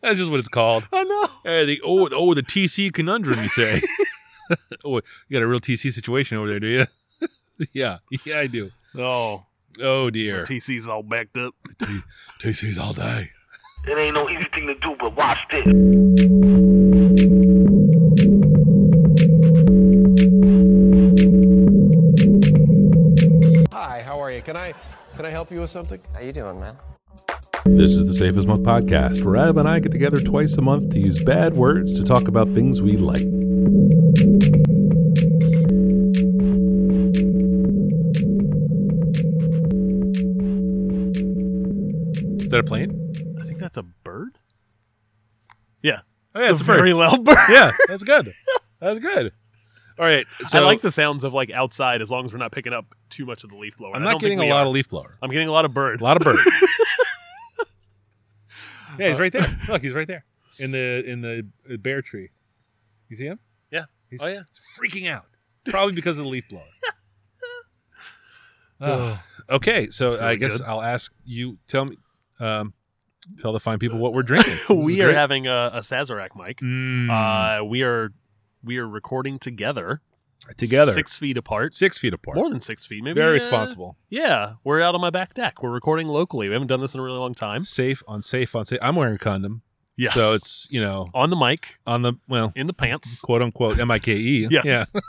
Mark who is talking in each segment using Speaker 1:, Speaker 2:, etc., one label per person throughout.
Speaker 1: That's just what it's called.
Speaker 2: I know.
Speaker 1: Hey, the, oh, the- oh, the TC conundrum, you say? oh, you got a real TC situation over there, do you? yeah, yeah, I do.
Speaker 2: Oh,
Speaker 1: Oh dear,
Speaker 2: TC's all backed up.
Speaker 1: TC's all day.
Speaker 3: It ain't no easy thing to do, but watch this.
Speaker 4: Hi, how are you? Can I can I help you with something?
Speaker 5: How you doing, man?
Speaker 6: This is the Safest Month podcast, where Adam and I get together twice a month to use bad words to talk about things we like.
Speaker 1: Is that a plane?
Speaker 2: I think that's a bird. Yeah,
Speaker 1: Oh yeah, it's a bird.
Speaker 2: very loud bird.
Speaker 1: yeah, that's good. That's good. All right, so
Speaker 2: I like the sounds of like outside as long as we're not picking up too much of the leaf blower.
Speaker 1: I'm
Speaker 2: I
Speaker 1: not
Speaker 2: don't
Speaker 1: getting
Speaker 2: think
Speaker 1: a
Speaker 2: we
Speaker 1: lot
Speaker 2: are.
Speaker 1: of leaf blower.
Speaker 2: I'm getting a lot of bird.
Speaker 1: A lot of bird. yeah, he's right there. Look, he's right there in the in the uh, bear tree. You see him?
Speaker 2: Yeah.
Speaker 1: He's,
Speaker 2: Oh, yeah.
Speaker 1: He's freaking out, probably because of the leaf blower. Ah, okay, so
Speaker 2: That's
Speaker 1: I
Speaker 2: really
Speaker 1: guess
Speaker 2: good.
Speaker 1: I'll ask you. Tell me, um, tell the fine people what we're drinking. This is
Speaker 2: we are
Speaker 1: great.
Speaker 2: having a, a Sazerac mic.
Speaker 1: Mm,
Speaker 2: Uh, we are we are recording together,
Speaker 1: together six,
Speaker 2: six feet apart,
Speaker 1: feet apart.
Speaker 2: more than six feet, maybe.
Speaker 1: Very
Speaker 2: uh,
Speaker 1: responsible.
Speaker 2: Yeah, we're out on my back deck. We're recording locally. We haven't done this in a really long time.
Speaker 1: Safe on safe on safe. I'm wearing a condom,
Speaker 2: Yes.
Speaker 1: so it's you know
Speaker 2: on the mic
Speaker 1: on the well
Speaker 2: in the pants,
Speaker 1: quote unquote M I K E.
Speaker 2: Yes.
Speaker 1: Yeah.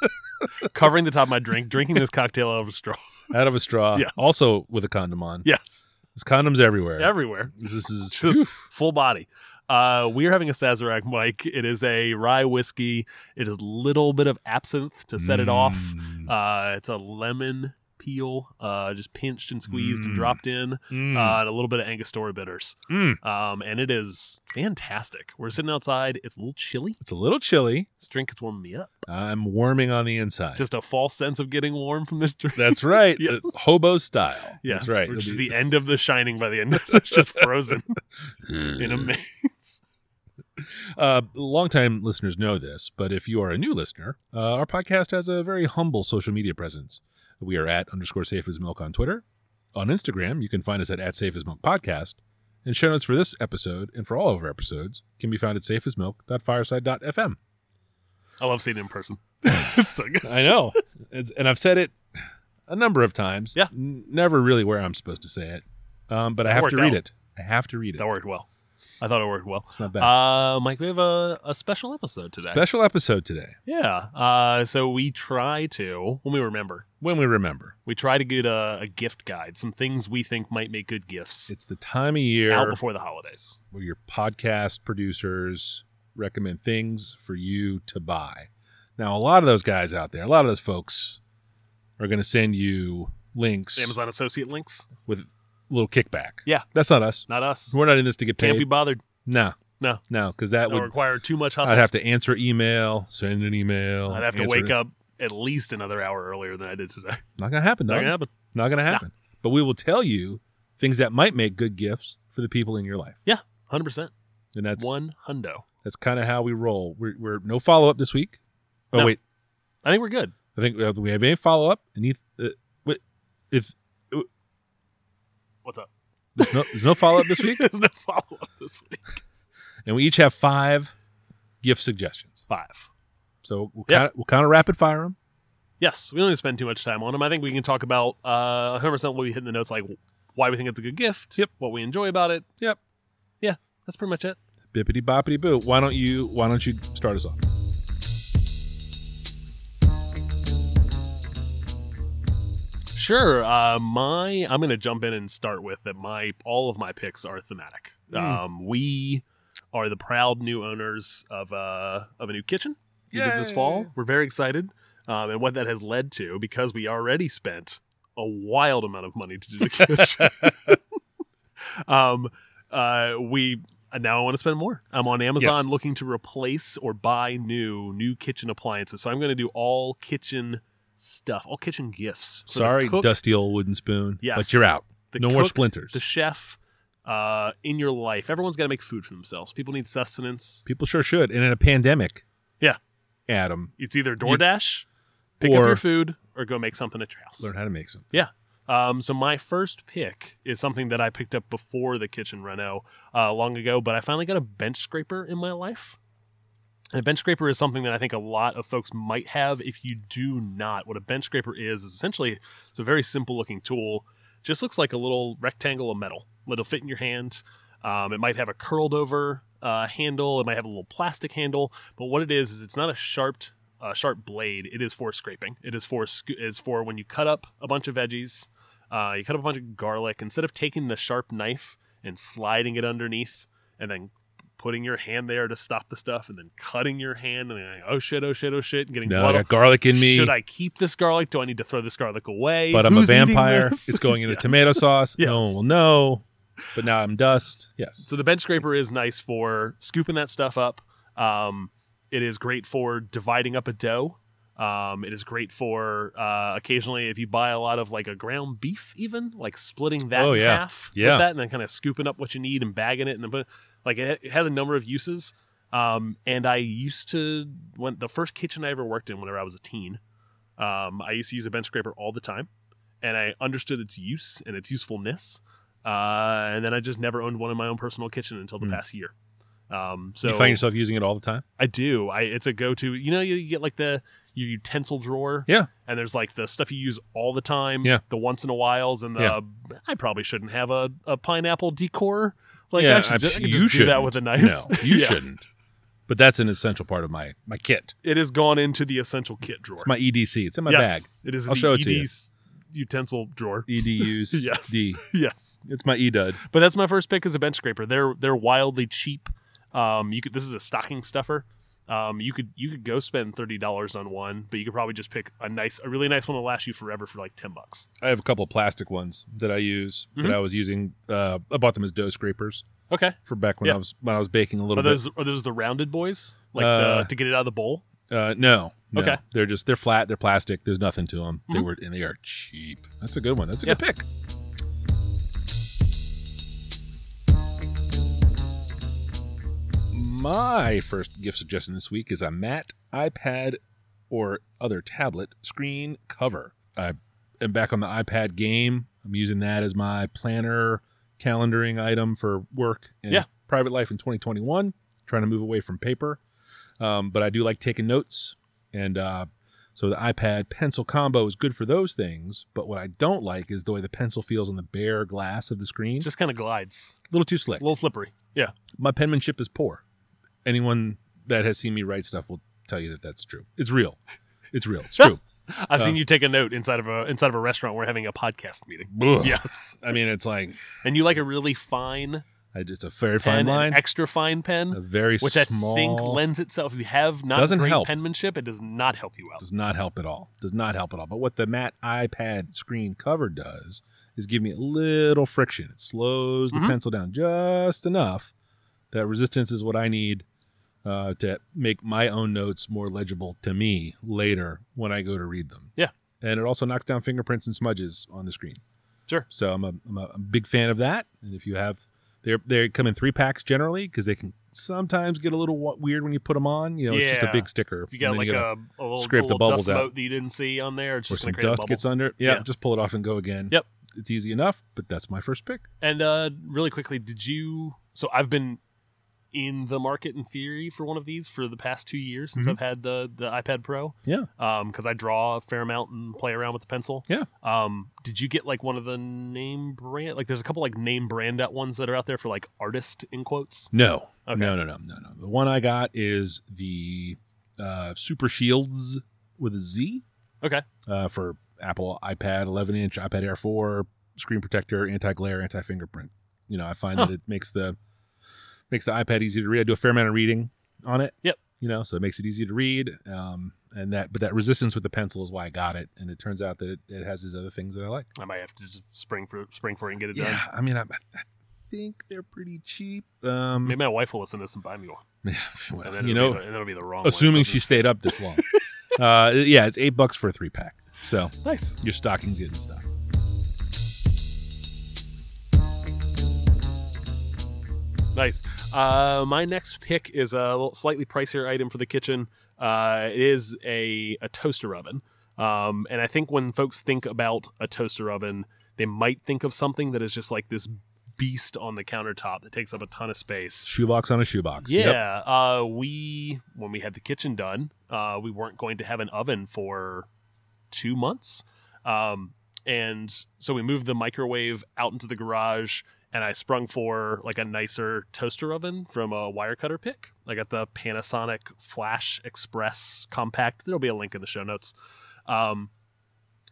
Speaker 2: covering the top of my drink, drinking this cocktail out of a straw.
Speaker 1: out of a straw.
Speaker 2: Yes.
Speaker 1: Also with a condom on.
Speaker 2: Yes,
Speaker 1: There's condoms everywhere.
Speaker 2: everywhere.
Speaker 1: This is
Speaker 2: just full body. Uh, we are having a Sazerac mic. It is a rye whiskey. It is a little bit of absinthe to set it off.
Speaker 1: Mm.
Speaker 2: Uh, it's a lemon peel, uh, just pinched and squeezed
Speaker 1: Mm.
Speaker 2: and dropped in,
Speaker 1: Mm.
Speaker 2: uh, and a little bit of Angostura bitters.
Speaker 1: Mm.
Speaker 2: Um, and it is fantastic. We're sitting outside. It's a little chilly.
Speaker 1: It's a little chilly.
Speaker 2: This drink is warming me up.
Speaker 1: I'm warming on the inside.
Speaker 2: Just a false sense of getting warm from this drink.
Speaker 1: That's right.
Speaker 2: Yes.
Speaker 1: Uh, Hobo style.
Speaker 2: Yes,
Speaker 1: That's right.
Speaker 2: Which is
Speaker 1: It'll
Speaker 2: the
Speaker 1: be-
Speaker 2: end of The Shining. By the end, of it. it's just frozen in a maze.
Speaker 1: Uh, longtime listeners know this, but if you are a new listener, uh, our podcast has a very humble social media presence. We are at underscore safe as milk on Twitter. On Instagram, you can find us at, at safe as milk podcast. And show notes for this episode and for all of our episodes can be found at safeasmilk.fireside.fm.
Speaker 2: I love seeing it in person. it's so good.
Speaker 1: I know. It's, and I've said it a number of times.
Speaker 2: Yeah.
Speaker 1: N- never really where I'm supposed to say it. Um, but I
Speaker 2: That
Speaker 1: have
Speaker 2: worked
Speaker 1: to read
Speaker 2: out.
Speaker 1: it. I have to read it.
Speaker 2: That worked well. I thought it worked well.
Speaker 1: It's not bad.
Speaker 2: Uh, Mike, we have a, a special episode today.
Speaker 1: Special episode today
Speaker 2: yeah. Uh, so we try to, when we remember,
Speaker 1: when we remember.
Speaker 2: we try to get a, a gift guide, some things we think might make good gifts
Speaker 1: It's the time of year
Speaker 2: out before the holidays.
Speaker 1: where your podcast producers recommend things for you to buy. Now, a lot of those guys out there, a lot of those folks are going to send you links
Speaker 2: Amazon associate links,
Speaker 1: with a little kickback.
Speaker 2: Yeah.
Speaker 1: That's not us.
Speaker 2: not us.
Speaker 1: We're not in this to get paid.
Speaker 2: Can't be bothered.
Speaker 1: no.
Speaker 2: No.
Speaker 1: No, because that
Speaker 2: That would
Speaker 1: would
Speaker 2: require too much hustle.
Speaker 1: I'd have to answer email, send an email.
Speaker 2: I'd have to
Speaker 1: answer
Speaker 2: wake
Speaker 1: it.
Speaker 2: up at least another hour earlier than I did today.
Speaker 1: Not gonna happen.
Speaker 2: Not
Speaker 1: Not
Speaker 2: gonna
Speaker 1: gonna,
Speaker 2: happen.
Speaker 1: not gonna happen. But we will tell you things that might make good gifts for the people in your life,
Speaker 2: Hundred percent.
Speaker 1: and that's
Speaker 2: One hundo.
Speaker 1: that's kind of how we roll. We're, we're no follow up this week. Oh
Speaker 2: No.
Speaker 1: wait,
Speaker 2: I think we're good.
Speaker 1: I think uh, we have any follow up. And if, uh, wait, if
Speaker 2: What's up?
Speaker 1: there's no, there's no follow up this week,
Speaker 2: There's no follow up this week.
Speaker 1: and we each have five gift suggestions,
Speaker 2: Five.
Speaker 1: so we'll
Speaker 2: Yeah.
Speaker 1: kind of we'll kind of rapid fire them.
Speaker 2: Yes, we don't need to spend too much time on them. I think we can talk about uh, 100% what we hit in the notes, like why we think it's a good gift,
Speaker 1: Yep.
Speaker 2: what we enjoy about it.
Speaker 1: Yep.
Speaker 2: Yeah, that's pretty much it.
Speaker 1: Bippity boppity boo. Why don't you Why don't you start us off?
Speaker 2: Sure. Uh, my I'm going to jump in and start with that. My all of my picks are thematic.
Speaker 1: Mm.
Speaker 2: Um, we are the proud new owners of uh, of a new kitchen. We did this
Speaker 1: Yay.
Speaker 2: fall. We're very excited, um, and what that has led to because we already spent a wild amount of money to do the kitchen. um, uh, we now I want to spend more. I'm on Amazon looking to replace or buy new new kitchen appliances. So I'm going to do all kitchen stuff, all kitchen gifts. So the
Speaker 1: Sorry,
Speaker 2: cook,
Speaker 1: dusty old wooden spoon.
Speaker 2: Yes.
Speaker 1: but you're out.
Speaker 2: the
Speaker 1: no more
Speaker 2: cook,
Speaker 1: splinters.
Speaker 2: The chef uh, in your life, everyone's got to make food for themselves. People need sustenance.
Speaker 1: People sure should. And in a pandemic.
Speaker 2: Yeah.
Speaker 1: Adam,
Speaker 2: It's either DoorDash, pick up
Speaker 1: Or-
Speaker 2: your food, or go make something at your house.
Speaker 1: learn how to make some.
Speaker 2: Yeah. Um, so my first pick is something that I picked up before the kitchen reno uh, long ago, but I finally got a bench scraper in my life. And a bench scraper is something that I think a lot of folks might have if you do not. What a bench scraper is is essentially it's a very simple looking tool. Just looks like a little rectangle of metal. It'll fit in your hand. Um, it might have a curled over uh, handle. It might have a little plastic handle. But what it is is it's not a sharp uh, sharp blade. It is for scraping. It is for sc- is for when you cut up a bunch of veggies. Uh, you cut up a bunch of garlic. Instead of taking the sharp knife and sliding it underneath and then putting your hand there to stop the stuff and then cutting your hand and then like, oh shit, oh shit, oh shit, and getting
Speaker 1: No, I
Speaker 2: blood
Speaker 1: got garlic in me,
Speaker 2: should I keep this garlic? Do I need to throw this garlic away?
Speaker 1: but I'm a
Speaker 2: Who's eating
Speaker 1: vampire.
Speaker 2: this?
Speaker 1: It's going in a
Speaker 2: Yes.
Speaker 1: tomato sauce.
Speaker 2: Yes.
Speaker 1: No one will know. But now I'm dust. Yes.
Speaker 2: So the bench scraper is nice for scooping that stuff up. Um, it is great for dividing up a dough. Um, it is great for uh, occasionally if you buy a lot of like a ground beef, even like splitting that
Speaker 1: Oh,
Speaker 2: in
Speaker 1: yeah.
Speaker 2: half
Speaker 1: Yeah.
Speaker 2: with that, and then kind of scooping up what you need and bagging it, and then put like it, it has a number of uses. Um, and I used to when the first kitchen I ever worked in, whenever I was a teen, um, I used to use a bench scraper all the time, and I understood its use and its usefulness. Uh, and then I just never owned one in my own personal kitchen until the
Speaker 1: Hmm.
Speaker 2: past year. Um, so
Speaker 1: you find yourself using it all the time.
Speaker 2: I do. I it's a go to. You know, you get like the your utensil drawer.
Speaker 1: Yeah.
Speaker 2: And there's like the stuff you use all the time.
Speaker 1: Yeah.
Speaker 2: The once in a whiles and the
Speaker 1: Yeah.
Speaker 2: I probably shouldn't have a, a pineapple decor. Like
Speaker 1: Yeah,
Speaker 2: I should
Speaker 1: I-
Speaker 2: ju- I could
Speaker 1: you
Speaker 2: just do that
Speaker 1: shouldn't.
Speaker 2: with a knife.
Speaker 1: No, you
Speaker 2: Yeah.
Speaker 1: shouldn't. But that's an essential part of my my kit.
Speaker 2: It has gone into the essential kit drawer.
Speaker 1: It's my EDC. It's in my bag. E
Speaker 2: yes, It is
Speaker 1: I'll
Speaker 2: the
Speaker 1: show it to you.
Speaker 2: ED's utensil drawer.
Speaker 1: EDUs.
Speaker 2: Yes.
Speaker 1: D.
Speaker 2: Yes.
Speaker 1: It's my E EDUD.
Speaker 2: But that's my first pick as a bench scraper. They're they're wildly cheap. Um, you could this is a stocking stuffer. Um, you could you could go spend thirty dollars on one, but you could probably just pick a nice, a really nice one that'll last you forever for like ten bucks.
Speaker 1: I have a couple of plastic ones that I use
Speaker 2: Mhm.
Speaker 1: that I was using. Uh, I bought them as dough scrapers
Speaker 2: Okay.
Speaker 1: for back when
Speaker 2: Yeah.
Speaker 1: I was when I was baking a
Speaker 2: Are
Speaker 1: little bit.
Speaker 2: those are those the rounded boys? Like
Speaker 1: Uh,
Speaker 2: the, to get it out of the bowl?
Speaker 1: Uh, no, no.
Speaker 2: Okay.
Speaker 1: They're just they're flat. They're plastic. There's nothing to them. They
Speaker 2: Mhm.
Speaker 1: were and they are cheap. That's a good one. That's a
Speaker 2: Yeah.
Speaker 1: good pick. My first gift suggestion this week is a matte iPad or other tablet screen cover. I am back on the iPad game. I'm using that as my planner calendaring item for work and
Speaker 2: Yeah.
Speaker 1: private life in 2021. Trying to move away from paper, um, but I do like taking notes, and uh, so the iPad pencil combo is good for those things. But what I don't like is the way the pencil feels on the bare glass of the screen.
Speaker 2: It
Speaker 1: Just
Speaker 2: just kind of glides,
Speaker 1: a little too
Speaker 2: a
Speaker 1: slick.
Speaker 2: little slippery. Yeah.
Speaker 1: My penmanship is poor. Anyone that has seen me write stuff will tell you that that's true. It's real. It's real. It's true.
Speaker 2: I've
Speaker 1: Uh,
Speaker 2: seen you take a note inside of a inside of a restaurant. We're having a podcast meeting.
Speaker 1: Ugh.
Speaker 2: Yes.
Speaker 1: I mean, it's like
Speaker 2: And you like a really fine
Speaker 1: I- it's a very
Speaker 2: pen,
Speaker 1: fine
Speaker 2: an
Speaker 1: line,
Speaker 2: extra fine pen.
Speaker 1: a very
Speaker 2: which
Speaker 1: small.
Speaker 2: I think lends itself. If you have not
Speaker 1: Doesn't
Speaker 2: great
Speaker 1: help.
Speaker 2: penmanship, it does not help you out.
Speaker 1: does not help at all. Does not help at all. But what the matte iPad screen cover does is give me a little friction. It slows the
Speaker 2: Mhm.
Speaker 1: pencil down just enough. That resistance is what I need uh, to make my own notes more legible to me later when I go to read them.
Speaker 2: Yeah.
Speaker 1: And it also knocks down fingerprints and smudges on the screen.
Speaker 2: Sure.
Speaker 1: So I'm a, I'm a I'm a big fan of that. And if you have, they're, they come in three packs generally because they can sometimes get a little wa- weird when you put them on. You know, it's just a
Speaker 2: Yeah.
Speaker 1: big sticker.
Speaker 2: If you got
Speaker 1: And then
Speaker 2: like
Speaker 1: gotta-
Speaker 2: a, a little,
Speaker 1: scrape
Speaker 2: a
Speaker 1: the
Speaker 2: little
Speaker 1: bubbles
Speaker 2: dust
Speaker 1: out.
Speaker 2: mote that you didn't see on there, it's
Speaker 1: or
Speaker 2: just
Speaker 1: some
Speaker 2: going to create a
Speaker 1: dust
Speaker 2: bubble.
Speaker 1: gets under. Yeah,
Speaker 2: Yeah.
Speaker 1: just pull it off and go again.
Speaker 2: Yep.
Speaker 1: It's easy enough, but that's my first pick.
Speaker 2: And uh, really quickly, did you? So I've been in the market in theory for one of these for the past two years since
Speaker 1: Mhm.
Speaker 2: I've had the the iPad Pro.
Speaker 1: Yeah.
Speaker 2: Um, because I draw a fair amount and play around with the pencil.
Speaker 1: Yeah.
Speaker 2: Um, did you get like one of the name brand? Like, there's a couple like name brand out ones that are out there for like artist in quotes.
Speaker 1: No.
Speaker 2: Okay.
Speaker 1: No, no, no, no, no. The one I got is the uh, Super Shields with a Z.
Speaker 2: Okay.
Speaker 1: Uh, for Apple iPad 11 inch, iPad Air 4, screen protector, anti glare, anti fingerprint. You know, I find
Speaker 2: Huh.
Speaker 1: that it makes the makes the iPad easy to read. I do a fair amount of reading on it.
Speaker 2: Yep.
Speaker 1: You know, so it makes it easy to read. Um, and that, but that resistance with the pencil is why I got it. And it turns out that it, it has these other things that I like.
Speaker 2: I might have to just spring for spring for it and get it done.
Speaker 1: Yeah, I mean, I, I think they're pretty cheap. Um,
Speaker 2: Maybe my wife will listen to this and buy me one.
Speaker 1: well,
Speaker 2: And then
Speaker 1: you
Speaker 2: it'll
Speaker 1: know,
Speaker 2: be the, and that'll be the wrong. one.
Speaker 1: assuming
Speaker 2: It
Speaker 1: she stayed up this long. uh, yeah, it's eight bucks for a three pack. So
Speaker 2: doesn't- nice.
Speaker 1: your stocking's getting stuffed.
Speaker 2: Nice. Uh, my next pick is a little- slightly pricier item for the kitchen. Uh, it is a, a toaster oven. Um, and I think when folks think about a toaster oven, they might think of something that is just like this beast on the countertop that takes up a ton of space.
Speaker 1: Shoebox on a shoebox.
Speaker 2: Yeah,
Speaker 1: Yep.
Speaker 2: uh, we when we had the kitchen done, uh, we weren't going to have an oven for two months, um, and so we moved the microwave out into the garage. And I sprung for like a nicer toaster oven from a wire cutter pick. I got the Panasonic Flash Express Compact. There'll be a link in the show notes. Um,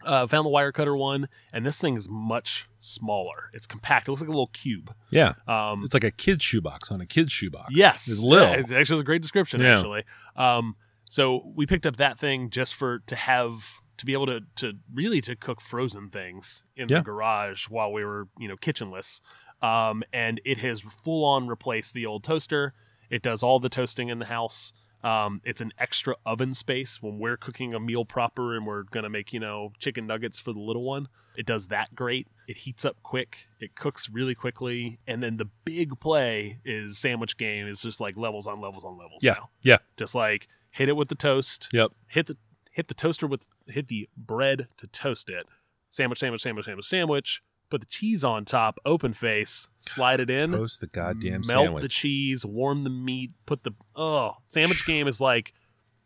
Speaker 2: uh, found the wire cutter one, and this thing is much smaller. It's compact. It looks like a little cube.
Speaker 1: Yeah.
Speaker 2: Um,
Speaker 1: It's like a kid's shoebox on a kid's shoebox.
Speaker 2: Yes,
Speaker 1: It's little.
Speaker 2: Yeah, it's actually a great description.
Speaker 1: Yeah.
Speaker 2: Actually, um, so we picked up that thing just for to have to be able to to really to cook frozen things in
Speaker 1: Yeah.
Speaker 2: the garage while we were you know kitchenless, um, and it has full on replaced the old toaster. It does all the toasting in the house. Um, it's an extra oven space when we're cooking a meal proper and we're gonna make you know chicken nuggets for the little one. It does that great. It heats up quick. It cooks really quickly. And then the big play is sandwich game is just like levels on levels on levels.
Speaker 1: Yeah.
Speaker 2: now.
Speaker 1: Yeah.
Speaker 2: Just like hit it with the toast.
Speaker 1: Yep.
Speaker 2: Hit the hit the toaster with hit the bread to toast it. Sandwich, sandwich, sandwich, sandwich, sandwich. Put the cheese on top. Open face. Slide it in.
Speaker 1: Toast the goddamn
Speaker 2: melt
Speaker 1: sandwich.
Speaker 2: the cheese. Warm the meat. Put the oh sandwich game is like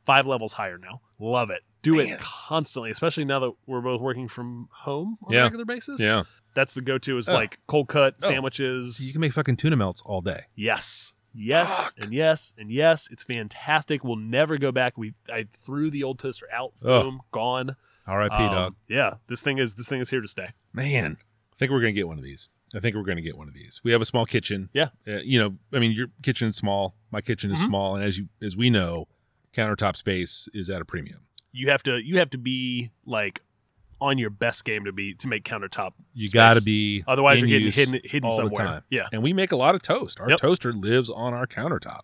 Speaker 2: five levels higher now. Love it. Do it constantly, especially now that we're both working from home on
Speaker 1: Yeah.
Speaker 2: a regular basis
Speaker 1: yeah.
Speaker 2: that's the go-to is
Speaker 1: Oh.
Speaker 2: like cold cut
Speaker 1: Oh. You
Speaker 2: sandwiches
Speaker 1: can make fucking tuna melts all day.
Speaker 2: yes yes and yes and yes it's fantastic we'll never go back we i threw the old toaster out
Speaker 1: Oh.
Speaker 2: boom gone
Speaker 1: R.I.P.
Speaker 2: Um,
Speaker 1: Dog.
Speaker 2: yeah this thing is this thing is here to stay
Speaker 1: Man, I think we're gonna get one of these. I think we're gonna get one of these. We have a small kitchen.
Speaker 2: Yeah.
Speaker 1: Uh, you know, I mean, your kitchen is small. My kitchen is
Speaker 2: Mhm.
Speaker 1: small, and as you as we know, countertop space is at a premium.
Speaker 2: you have to you have to be like on your best game to be to make countertop
Speaker 1: You
Speaker 2: Space.
Speaker 1: gotta be
Speaker 2: otherwise
Speaker 1: in
Speaker 2: you're
Speaker 1: use.
Speaker 2: getting hidden hidden
Speaker 1: all the
Speaker 2: somewhere
Speaker 1: time.
Speaker 2: yeah
Speaker 1: And we make a lot of toast. Our
Speaker 2: Yep.
Speaker 1: toaster lives on our countertop.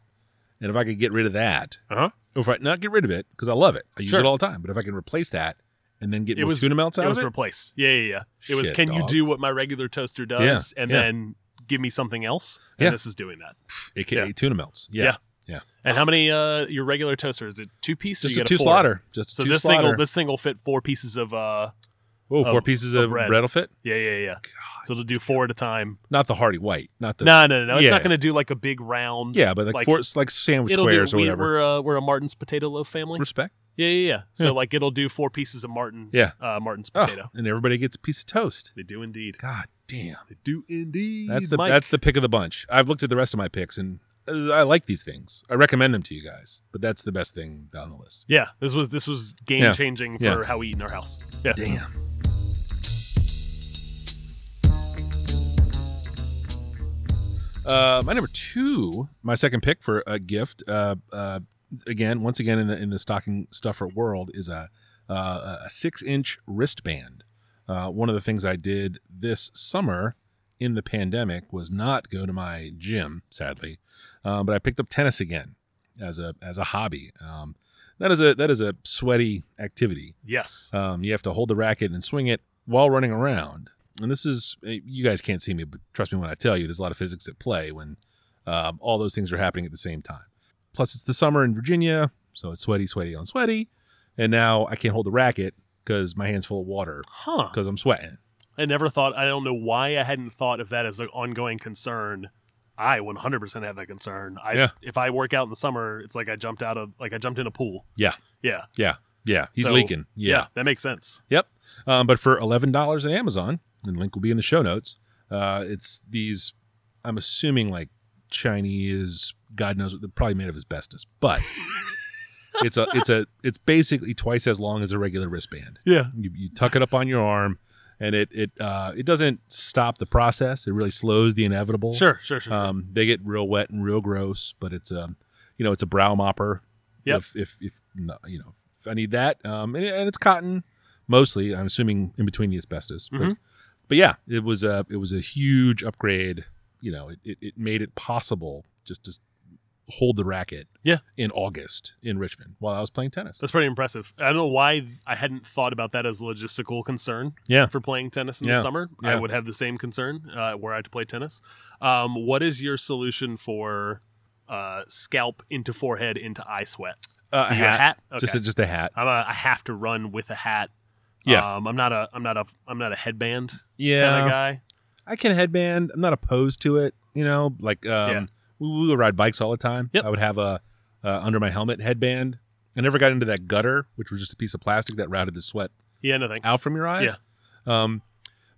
Speaker 1: And if I could get rid of that,
Speaker 2: Uh-huh.
Speaker 1: or if I not get rid of it because I love it, I use
Speaker 2: Sure.
Speaker 1: it all the time. But if I can replace that and then get
Speaker 2: It
Speaker 1: more
Speaker 2: was-
Speaker 1: tuna melts out
Speaker 2: it was
Speaker 1: of it,
Speaker 2: replace yeah yeah yeah it was
Speaker 1: Shit,
Speaker 2: can you
Speaker 1: dog.
Speaker 2: do what my regular toaster does and
Speaker 1: yeah.
Speaker 2: then give me something else and
Speaker 1: Yeah.
Speaker 2: this is doing that
Speaker 1: aka
Speaker 2: Yeah.
Speaker 1: tuna melts. Yeah,
Speaker 2: Yeah. and how many uh your regular toaster is it two piece
Speaker 1: just
Speaker 2: or you
Speaker 1: a
Speaker 2: get
Speaker 1: two
Speaker 2: four?
Speaker 1: slaughter. Just a
Speaker 2: So
Speaker 1: two
Speaker 2: this
Speaker 1: slaughter.
Speaker 2: thing will this thing will fit four pieces of uh
Speaker 1: oh, four
Speaker 2: of-
Speaker 1: pieces
Speaker 2: of
Speaker 1: of bread.
Speaker 2: bread.
Speaker 1: will fit.
Speaker 2: yeah yeah yeah. So it'll do four at a time.
Speaker 1: Not the hearty white. Not the
Speaker 2: No no no, no. it's
Speaker 1: yeah.
Speaker 2: not going to do like a big round.
Speaker 1: yeah, but like,
Speaker 2: like-
Speaker 1: four like sandwich
Speaker 2: it'll
Speaker 1: squares or
Speaker 2: do. we,
Speaker 1: whatever.
Speaker 2: we're uh, we're a Martin's potato loaf family.
Speaker 1: Respect.
Speaker 2: Yeah yeah yeah. So
Speaker 1: Yeah.
Speaker 2: like it'll do four pieces of Martin.
Speaker 1: Yeah.
Speaker 2: Uh, Martin's
Speaker 1: Oh,
Speaker 2: potato.
Speaker 1: and everybody gets a piece of toast.
Speaker 2: They do indeed.
Speaker 1: God damn.
Speaker 2: They do indeed.
Speaker 1: That's the
Speaker 2: Mike.
Speaker 1: that's the pick of the bunch. I've looked at the rest of my picks and uh, I like these things. I recommend them to you guys, but that's the best thing on the list.
Speaker 2: yeah. This was this was game
Speaker 1: Yeah.
Speaker 2: changing for
Speaker 1: Yeah.
Speaker 2: how we eat in our house. Yeah.
Speaker 1: Damn. Uh, my number two, my second pick for a gift, uh, uh, again, once again in the in the stocking stuffer world, is a uh, a six inch wristband. Uh, one of the things I did this summer in the pandemic was not go to my gym, sadly, uh, but I picked up tennis again as a as a hobby. Um, that is a that is a sweaty activity.
Speaker 2: Yes.
Speaker 1: Um, you have to hold the racket and swing it while running around. And this is, uh, you guys can't see me, but trust me when I tell you, there's a lot of physics at play when um, all those things are happening at the same time. Plus, it's the summer in Virginia, so it's sweaty, sweaty on sweaty. And now I can't hold the racket because my hand's full of water
Speaker 2: Huh.
Speaker 1: because I'm sweating.
Speaker 2: I never thought. I don't know why I hadn't thought of that as an ongoing concern. I 100% have that concern. I,
Speaker 1: Yeah.
Speaker 2: If I work out in the summer, it's like I jumped out of like I jumped in a pool.
Speaker 1: Yeah.
Speaker 2: Yeah.
Speaker 1: Yeah, he's
Speaker 2: So,
Speaker 1: leaking.
Speaker 2: Yeah.
Speaker 1: Yeah.
Speaker 2: That makes sense.
Speaker 1: Yep. Um, but for eleven dollars on Amazon, and link will be in the show notes. Uh, it's these. I'm assuming like Chinese, God knows, they're probably made of asbestos, but it's a it's a it's basically twice as long as a regular wristband.
Speaker 2: Yeah.
Speaker 1: You, you tuck it up on your arm, and it it uh, it doesn't stop the process. It really slows the inevitable.
Speaker 2: Sure. Sure. Sure. sure.
Speaker 1: Um, they get real wet and real gross, but it's um, you know, it's a brow mopper.
Speaker 2: Yep.
Speaker 1: If if, if no, you know, if I need that, um, and, and it's cotton mostly. I'm assuming in between the asbestos, but,
Speaker 2: Mhm.
Speaker 1: but yeah, it was a it was a huge upgrade. You know, it, it, it made it possible just to hold the racket.
Speaker 2: Yeah.
Speaker 1: In August in Richmond while I was playing tennis.
Speaker 2: That's pretty impressive. I don't know why I hadn't thought about that as a logistical concern.
Speaker 1: Yeah.
Speaker 2: For playing tennis in
Speaker 1: Yeah.
Speaker 2: the summer,
Speaker 1: Yeah.
Speaker 2: I would have the same concern uh, were I to play tennis. Um, what is your solution for uh, scalp into forehead into eye sweat?
Speaker 1: Uh, a
Speaker 2: Your
Speaker 1: hat.
Speaker 2: Okay.
Speaker 1: Just a, just a hat.
Speaker 2: I'm a, I have to run with a hat.
Speaker 1: Yeah.
Speaker 2: Um, I'm not a I'm not a I'm not a headband
Speaker 1: Yeah.
Speaker 2: kind of guy.
Speaker 1: I can headband. I'm not opposed to it. You know, like um,
Speaker 2: Yeah.
Speaker 1: we, we would ride bikes all the time.
Speaker 2: Yep.
Speaker 1: I would have a uh, under my helmet headband. I never got into that gutter, which was just a piece of plastic that routed the sweat
Speaker 2: Yeah, no thanks.
Speaker 1: out from your eyes.
Speaker 2: Yeah.
Speaker 1: Um,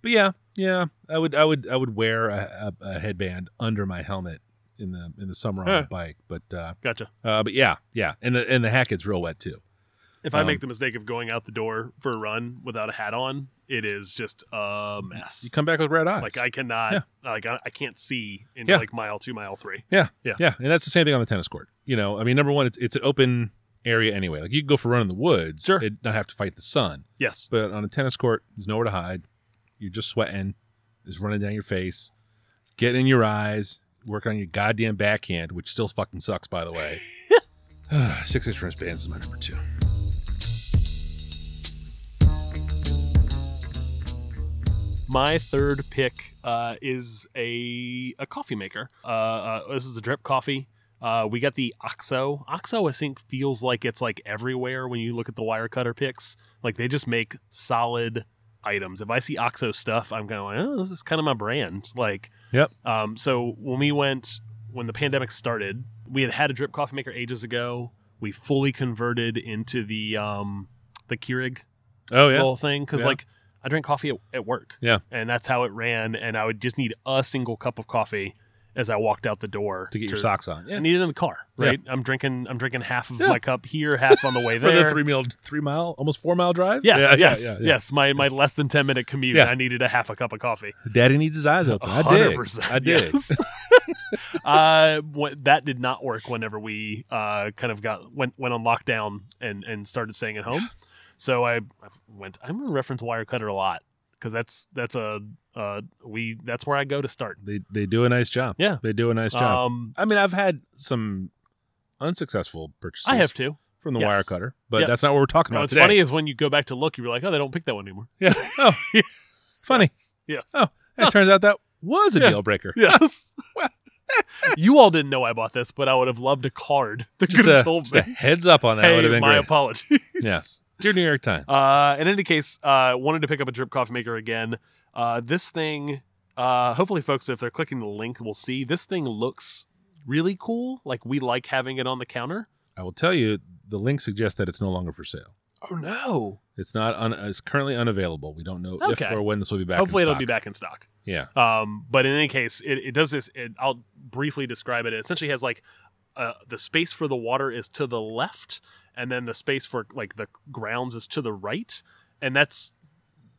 Speaker 1: but yeah, yeah, I would, I would, I would wear a, a, a headband under my helmet in the in the summer on
Speaker 2: Huh.
Speaker 1: a bike. But uh,
Speaker 2: Gotcha.
Speaker 1: uh, but yeah, yeah, and the and the hat gets real wet too.
Speaker 2: If I
Speaker 1: Um,
Speaker 2: make the mistake of going out the door for a run without a hat on, it is just a mess.
Speaker 1: You come back with red eyes.
Speaker 2: Like I cannot, like I, I can't see in
Speaker 1: Yeah.
Speaker 2: like mile two, mile three.
Speaker 1: Yeah,
Speaker 2: Yeah.
Speaker 1: yeah, and that's the same thing on the tennis court. You know, I mean, number one, it's it's an open area anyway. Like you can go for a run in the woods,
Speaker 2: Sure.
Speaker 1: and not have to fight the sun.
Speaker 2: Yes,
Speaker 1: But on a tennis court, there's nowhere to hide. You're just sweating, it's running down your face, it's getting in your eyes, working on your goddamn backhand, which still fucking sucks, by the way. Six inch wristbands is my number two.
Speaker 2: my third pick uh, is a a coffee maker. Uh, uh, this is a drip coffee. Uh, we got the Oxo. Oxo, I think, feels like it's like everywhere when you look at the wire cutter picks. Like they just make solid items. If I see Oxo stuff, I'm kind of like, oh, this is kind of my brand. Like,
Speaker 1: Yep.
Speaker 2: Um, so when we went, when the pandemic started, we had had a drip coffee maker ages ago. We fully converted into the um, the Keurig
Speaker 1: Oh yeah,
Speaker 2: whole thing because
Speaker 1: Yeah.
Speaker 2: like I drink coffee at, at work.
Speaker 1: Yeah.
Speaker 2: and that's how it ran. And I would just need a single cup of coffee as I walked out the door
Speaker 1: to get your socks on.
Speaker 2: I
Speaker 1: Yeah,
Speaker 2: need it in the car,
Speaker 1: Yeah.
Speaker 2: right? I'm drinking. I'm drinking half of
Speaker 1: Yeah.
Speaker 2: my cup here, half on the way
Speaker 1: for
Speaker 2: there.
Speaker 1: the three mile, three mile, almost four mile drive.
Speaker 2: yeah, yes,
Speaker 1: yeah, yeah.
Speaker 2: yes. My my less than ten minute commute,
Speaker 1: Yeah.
Speaker 2: I needed a half a cup of coffee.
Speaker 1: Daddy needs his eyes open. I did.
Speaker 2: 100%,
Speaker 1: I did.
Speaker 2: yes. uh, what, that did not work whenever we uh, kind of got went went on lockdown and and started staying at home. So I, I went. I'm gonna reference Wirecutter a lot because that's that's a uh, we that's where I go to start.
Speaker 1: They they do a nice job.
Speaker 2: Yeah.
Speaker 1: they do a nice job.
Speaker 2: Um,
Speaker 1: I mean, I've had some unsuccessful purchases.
Speaker 2: I have too.
Speaker 1: from the
Speaker 2: yes.
Speaker 1: wire cutter, but
Speaker 2: Yep.
Speaker 1: that's not what we're talking
Speaker 2: You know,
Speaker 1: about
Speaker 2: what's
Speaker 1: today.
Speaker 2: funny is when you go back to look, you're like, oh, they don't pick that one anymore.
Speaker 1: Yeah. Oh, funny.
Speaker 2: Yes.
Speaker 1: Oh. It turns out that was a
Speaker 2: Yeah.
Speaker 1: deal breaker.
Speaker 2: Yes. you all didn't know I bought this, but I would have loved a card that could
Speaker 1: Just,
Speaker 2: have
Speaker 1: a,
Speaker 2: told
Speaker 1: just a
Speaker 2: me.
Speaker 1: heads up on that would have
Speaker 2: Hey,
Speaker 1: been
Speaker 2: my
Speaker 1: great.
Speaker 2: apologies.
Speaker 1: Yeah. Dear New York Times.
Speaker 2: Uh, in any case, uh, wanted to pick up a drip coffee maker again. Uh, this thing, uh, hopefully, folks, if they're clicking the link, will see this thing looks really cool. Like we like having it on the counter.
Speaker 1: I will tell you, the link suggests that it's no longer for sale.
Speaker 2: Oh no!
Speaker 1: It's not. Un, it's currently unavailable. We don't know if
Speaker 2: Okay.
Speaker 1: or when this will be back. in
Speaker 2: hopefully, it'll
Speaker 1: stock.
Speaker 2: be back in stock.
Speaker 1: Yeah.
Speaker 2: Um, but in any case, it, it does this. It, I'll briefly describe it. It essentially has like uh, the space for the water is to the left, and then the space for like the grounds is to the right, and that's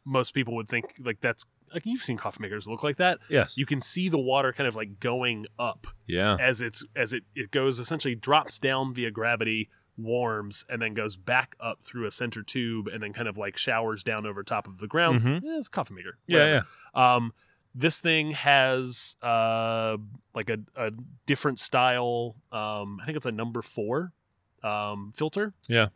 Speaker 2: most people would think like that's like you've seen coffee makers look like that.
Speaker 1: Yes.
Speaker 2: You can see the water kind of like going up
Speaker 1: yeah.
Speaker 2: as it's as it it goes essentially drops down via gravity warms and then goes back up through a center tube and then kind of like showers down over top of the grounds
Speaker 1: Mhm.
Speaker 2: yeah, it's a coffee maker
Speaker 1: Yeah. Yeah.
Speaker 2: yeah um this thing has uh like a, a different style um i think it's a number four um filter
Speaker 1: Yeah.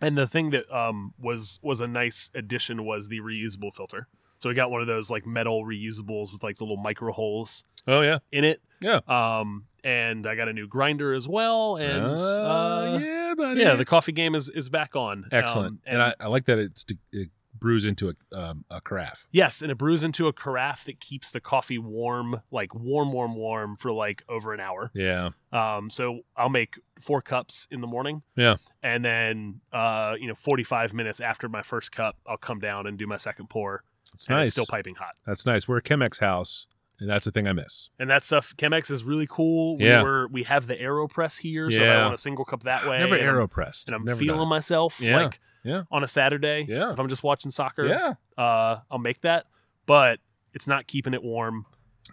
Speaker 2: and the thing that um was was a nice addition was the reusable filter so we got one of those like metal reusables with like the little micro holes
Speaker 1: Oh yeah.
Speaker 2: in it.
Speaker 1: Yeah.
Speaker 2: Um, and I got a new grinder as well, and
Speaker 1: Uh,
Speaker 2: uh,
Speaker 1: yeah, buddy.
Speaker 2: yeah. the coffee game is is back on.
Speaker 1: excellent.
Speaker 2: Um,
Speaker 1: and, I, I like that it's it brews into a um, a carafe.
Speaker 2: yes, and it brews into a carafe that keeps the coffee warm, like warm, warm, warm for like over an hour.
Speaker 1: Yeah.
Speaker 2: Um, so I'll make four cups in the morning.
Speaker 1: Yeah.
Speaker 2: And then, uh, you know, forty five minutes after my first cup, I'll come down and do my second pour.
Speaker 1: It's
Speaker 2: and
Speaker 1: nice.
Speaker 2: It's still piping hot.
Speaker 1: That's nice. We're a Chemex house, and that's the thing I miss.
Speaker 2: And that stuff, Chemex is really cool. We
Speaker 1: Yeah.
Speaker 2: were we have the AeroPress here, so if I
Speaker 1: Yeah.
Speaker 2: want a single cup that way.
Speaker 1: Never
Speaker 2: and I'm
Speaker 1: aeropressed.
Speaker 2: and I'm
Speaker 1: Never
Speaker 2: feeling
Speaker 1: done
Speaker 2: myself
Speaker 1: Yeah,
Speaker 2: like
Speaker 1: yeah.
Speaker 2: on a Saturday.
Speaker 1: Yeah.
Speaker 2: If I'm just watching
Speaker 1: it.
Speaker 2: soccer,
Speaker 1: Yeah.
Speaker 2: uh, I'll make that. But it's not keeping it warm.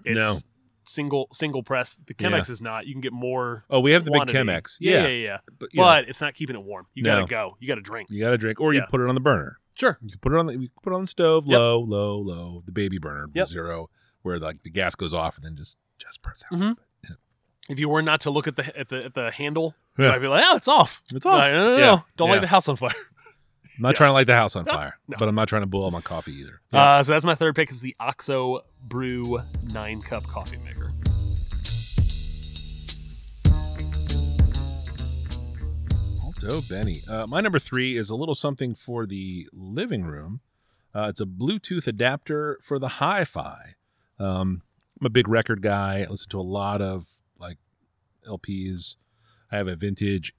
Speaker 2: It's
Speaker 1: No.
Speaker 2: single single press. The
Speaker 1: Yeah.
Speaker 2: Chemex is not. You can get more
Speaker 1: Oh, we have the big
Speaker 2: quantity.
Speaker 1: Chemex.
Speaker 2: Yeah, yeah, yeah. yeah.
Speaker 1: But, you, know,
Speaker 2: But it's not keeping it warm. You
Speaker 1: No.
Speaker 2: gotta go. You gotta drink.
Speaker 1: you got to drink, or you
Speaker 2: Yeah.
Speaker 1: put it on the burner.
Speaker 2: Sure.
Speaker 1: You can put it on the you can put it on the stove,
Speaker 2: Yep.
Speaker 1: low, low, low, the baby burner
Speaker 2: Yep.
Speaker 1: zero, where like the gas goes off and then just just burns out.
Speaker 2: Mhm. If you were not to look at the at the at the handle,
Speaker 1: Yeah.
Speaker 2: I'd be like, oh, it's off.
Speaker 1: It's off.
Speaker 2: Like, no, no, no,
Speaker 1: Yeah.
Speaker 2: Don't
Speaker 1: Yeah.
Speaker 2: light the house on fire.
Speaker 1: I'm not trying to
Speaker 2: Yes.
Speaker 1: light the house on
Speaker 2: No,
Speaker 1: fire,
Speaker 2: no.
Speaker 1: but I'm not trying to boil my coffee either.
Speaker 2: Uh, so that's my third pick is the Oxo Brew nine cup coffee maker.
Speaker 1: I'll So, Benny, uh, my number three is a little something for the living room. Uh, it's a Bluetooth adapter for the hi fi. Um, I'm a big record guy. I listen to a lot of like LPs. I have a vintage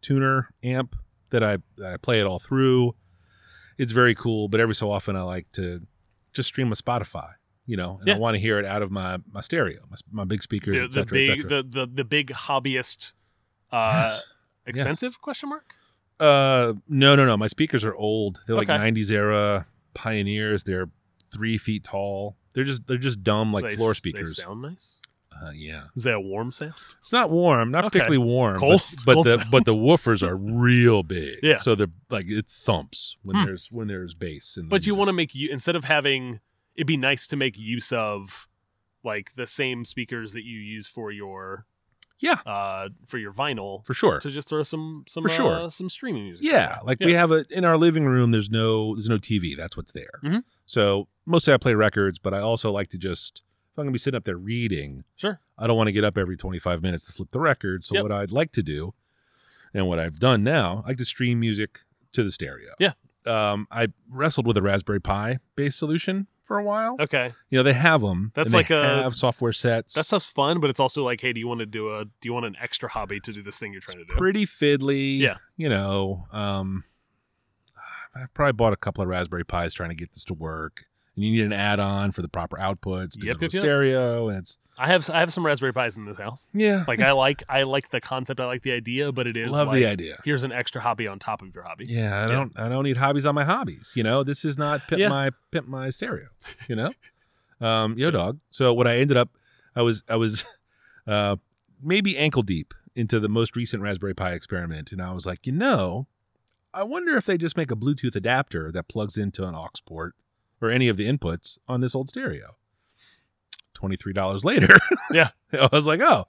Speaker 1: tuner amp that I that I play it all through. It's very cool, but every so often I like to just stream a Spotify, you know, and I
Speaker 2: Yeah.
Speaker 1: want to hear it out of my my stereo, my, s- my big speakers,
Speaker 2: The,
Speaker 1: et
Speaker 2: the
Speaker 1: cetera, et
Speaker 2: big
Speaker 1: cetera.
Speaker 2: the, the, the big hobbyist uh
Speaker 1: Yes.
Speaker 2: expensive question mark?
Speaker 1: Uh, no, no, no. My speakers are old. They're like
Speaker 2: Okay.
Speaker 1: '90s era pioneers. They're three feet tall. They're just they're just dumb like
Speaker 2: They
Speaker 1: floor
Speaker 2: s- they
Speaker 1: speakers.
Speaker 2: sound nice.
Speaker 1: Uh, yeah,
Speaker 2: Is that a warm sound?
Speaker 1: it's not warm. Not
Speaker 2: Okay.
Speaker 1: particularly warm.
Speaker 2: Cold-
Speaker 1: but, but
Speaker 2: cold
Speaker 1: the
Speaker 2: sound.
Speaker 1: but the woofers are real big.
Speaker 2: Yeah.
Speaker 1: So they're like it thumps when
Speaker 2: Hmm.
Speaker 1: there's when there's bass. In the
Speaker 2: But you
Speaker 1: music.
Speaker 2: want to make you instead of having it'd be nice to make use of like the same speakers that you use for your
Speaker 1: yeah
Speaker 2: uh for your vinyl
Speaker 1: for sure.
Speaker 2: to just throw some some
Speaker 1: For sure.
Speaker 2: uh, some streaming music.
Speaker 1: Yeah, like we have a in our living room. There's no there's no TV. That's what's there.
Speaker 2: Mhm.
Speaker 1: So mostly I play records, but I also like to just if I'm gonna be sitting up there reading.
Speaker 2: Sure.
Speaker 1: I don't want to get up every 25 minutes to flip the record. So
Speaker 2: Yep.
Speaker 1: what I'd like to do, and what I've done now, I like to stream music to the stereo.
Speaker 2: Yeah.
Speaker 1: Um, I wrestled with a Raspberry Pi based solution for a while.
Speaker 2: Okay.
Speaker 1: You know they have them.
Speaker 2: That's
Speaker 1: and
Speaker 2: like
Speaker 1: they
Speaker 2: a-
Speaker 1: have software sets.
Speaker 2: That stuff's fun, but it's also like, hey, do you want to do a do you want an extra hobby to do this thing you're trying to do?
Speaker 1: pretty fiddly.
Speaker 2: Yeah.
Speaker 1: You know, um, I probably bought a couple of Raspberry Pis trying to get this to work. And you need an add on for the proper outputs to
Speaker 2: Yep,
Speaker 1: go to
Speaker 2: yep,
Speaker 1: a
Speaker 2: yep.
Speaker 1: stereo. And it's,
Speaker 2: I have I have some Raspberry Pis in this house.
Speaker 1: yeah.
Speaker 2: Like I like I like the concept, I like the idea, but it is
Speaker 1: love
Speaker 2: like,
Speaker 1: the idea.
Speaker 2: Here's an extra hobby on top of your hobby.
Speaker 1: Yeah, I
Speaker 2: Yeah.
Speaker 1: don't. I don't need hobbies on my hobbies. You know, this is not pimp
Speaker 2: Yeah.
Speaker 1: my pimp my stereo. You know, um, yo dog. So what I ended up, I was I was, uh, maybe ankle deep into the most recent Raspberry Pi experiment, and I was like, you know, I wonder if they just make a Bluetooth adapter that plugs into an aux port or any of the inputs on this old stereo. Twenty three dollars later,
Speaker 2: Yeah.
Speaker 1: I was like, oh,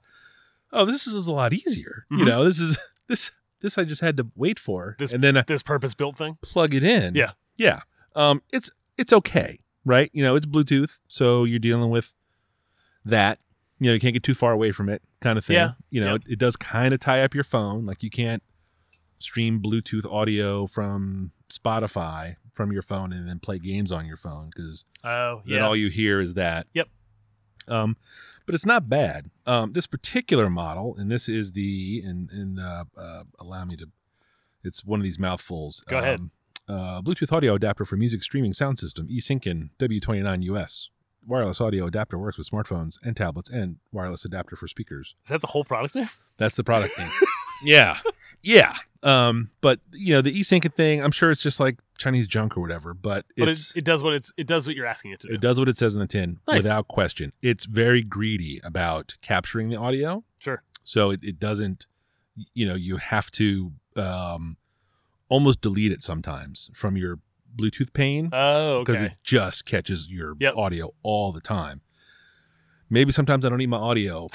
Speaker 1: oh, this is a lot easier. You
Speaker 2: Mhm.
Speaker 1: know, this is this. This I just had to wait for,
Speaker 2: This-
Speaker 1: and then I-
Speaker 2: This purpose built thing.
Speaker 1: plug it in.
Speaker 2: Yeah.
Speaker 1: Yeah. Um, it's it's okay, right? You know, it's Bluetooth, so you're dealing with that. You know, you can't get too far away from it, kind of thing.
Speaker 2: Yeah.
Speaker 1: You know,
Speaker 2: Yeah.
Speaker 1: it, it does kind of tie up your phone. Like you can't stream Bluetooth audio from Spotify from your phone and then play games on your phone because
Speaker 2: Oh
Speaker 1: then all you hear is that.
Speaker 2: Yep.
Speaker 1: Um, but it's not bad. Um, this particular model, and this is the and and uh, uh, allow me to. It's one of these mouthfuls.
Speaker 2: Go ahead.
Speaker 1: Um, uh, Bluetooth audio adapter for music streaming sound system eSynkin W29US wireless audio adapter works with smartphones and tablets and wireless adapter for speakers.
Speaker 2: Is that the whole product name?
Speaker 1: That's the product name. yeah. Yeah. Um, but you know, the eSync thing, I'm sure it's just like Chinese junk or whatever, but
Speaker 2: But
Speaker 1: it's
Speaker 2: it, it does what it's it does what you're asking it to do.
Speaker 1: it does what it says in the tin
Speaker 2: Nice.
Speaker 1: without question. It's very greedy about capturing the audio.
Speaker 2: Sure.
Speaker 1: So it, it doesn't, you know, you have to um, almost delete it sometimes from your Bluetooth pane
Speaker 2: Oh,
Speaker 1: because it
Speaker 2: okay.
Speaker 1: just catches your
Speaker 2: Yep.
Speaker 1: audio all the time. Maybe sometimes I don't need my audio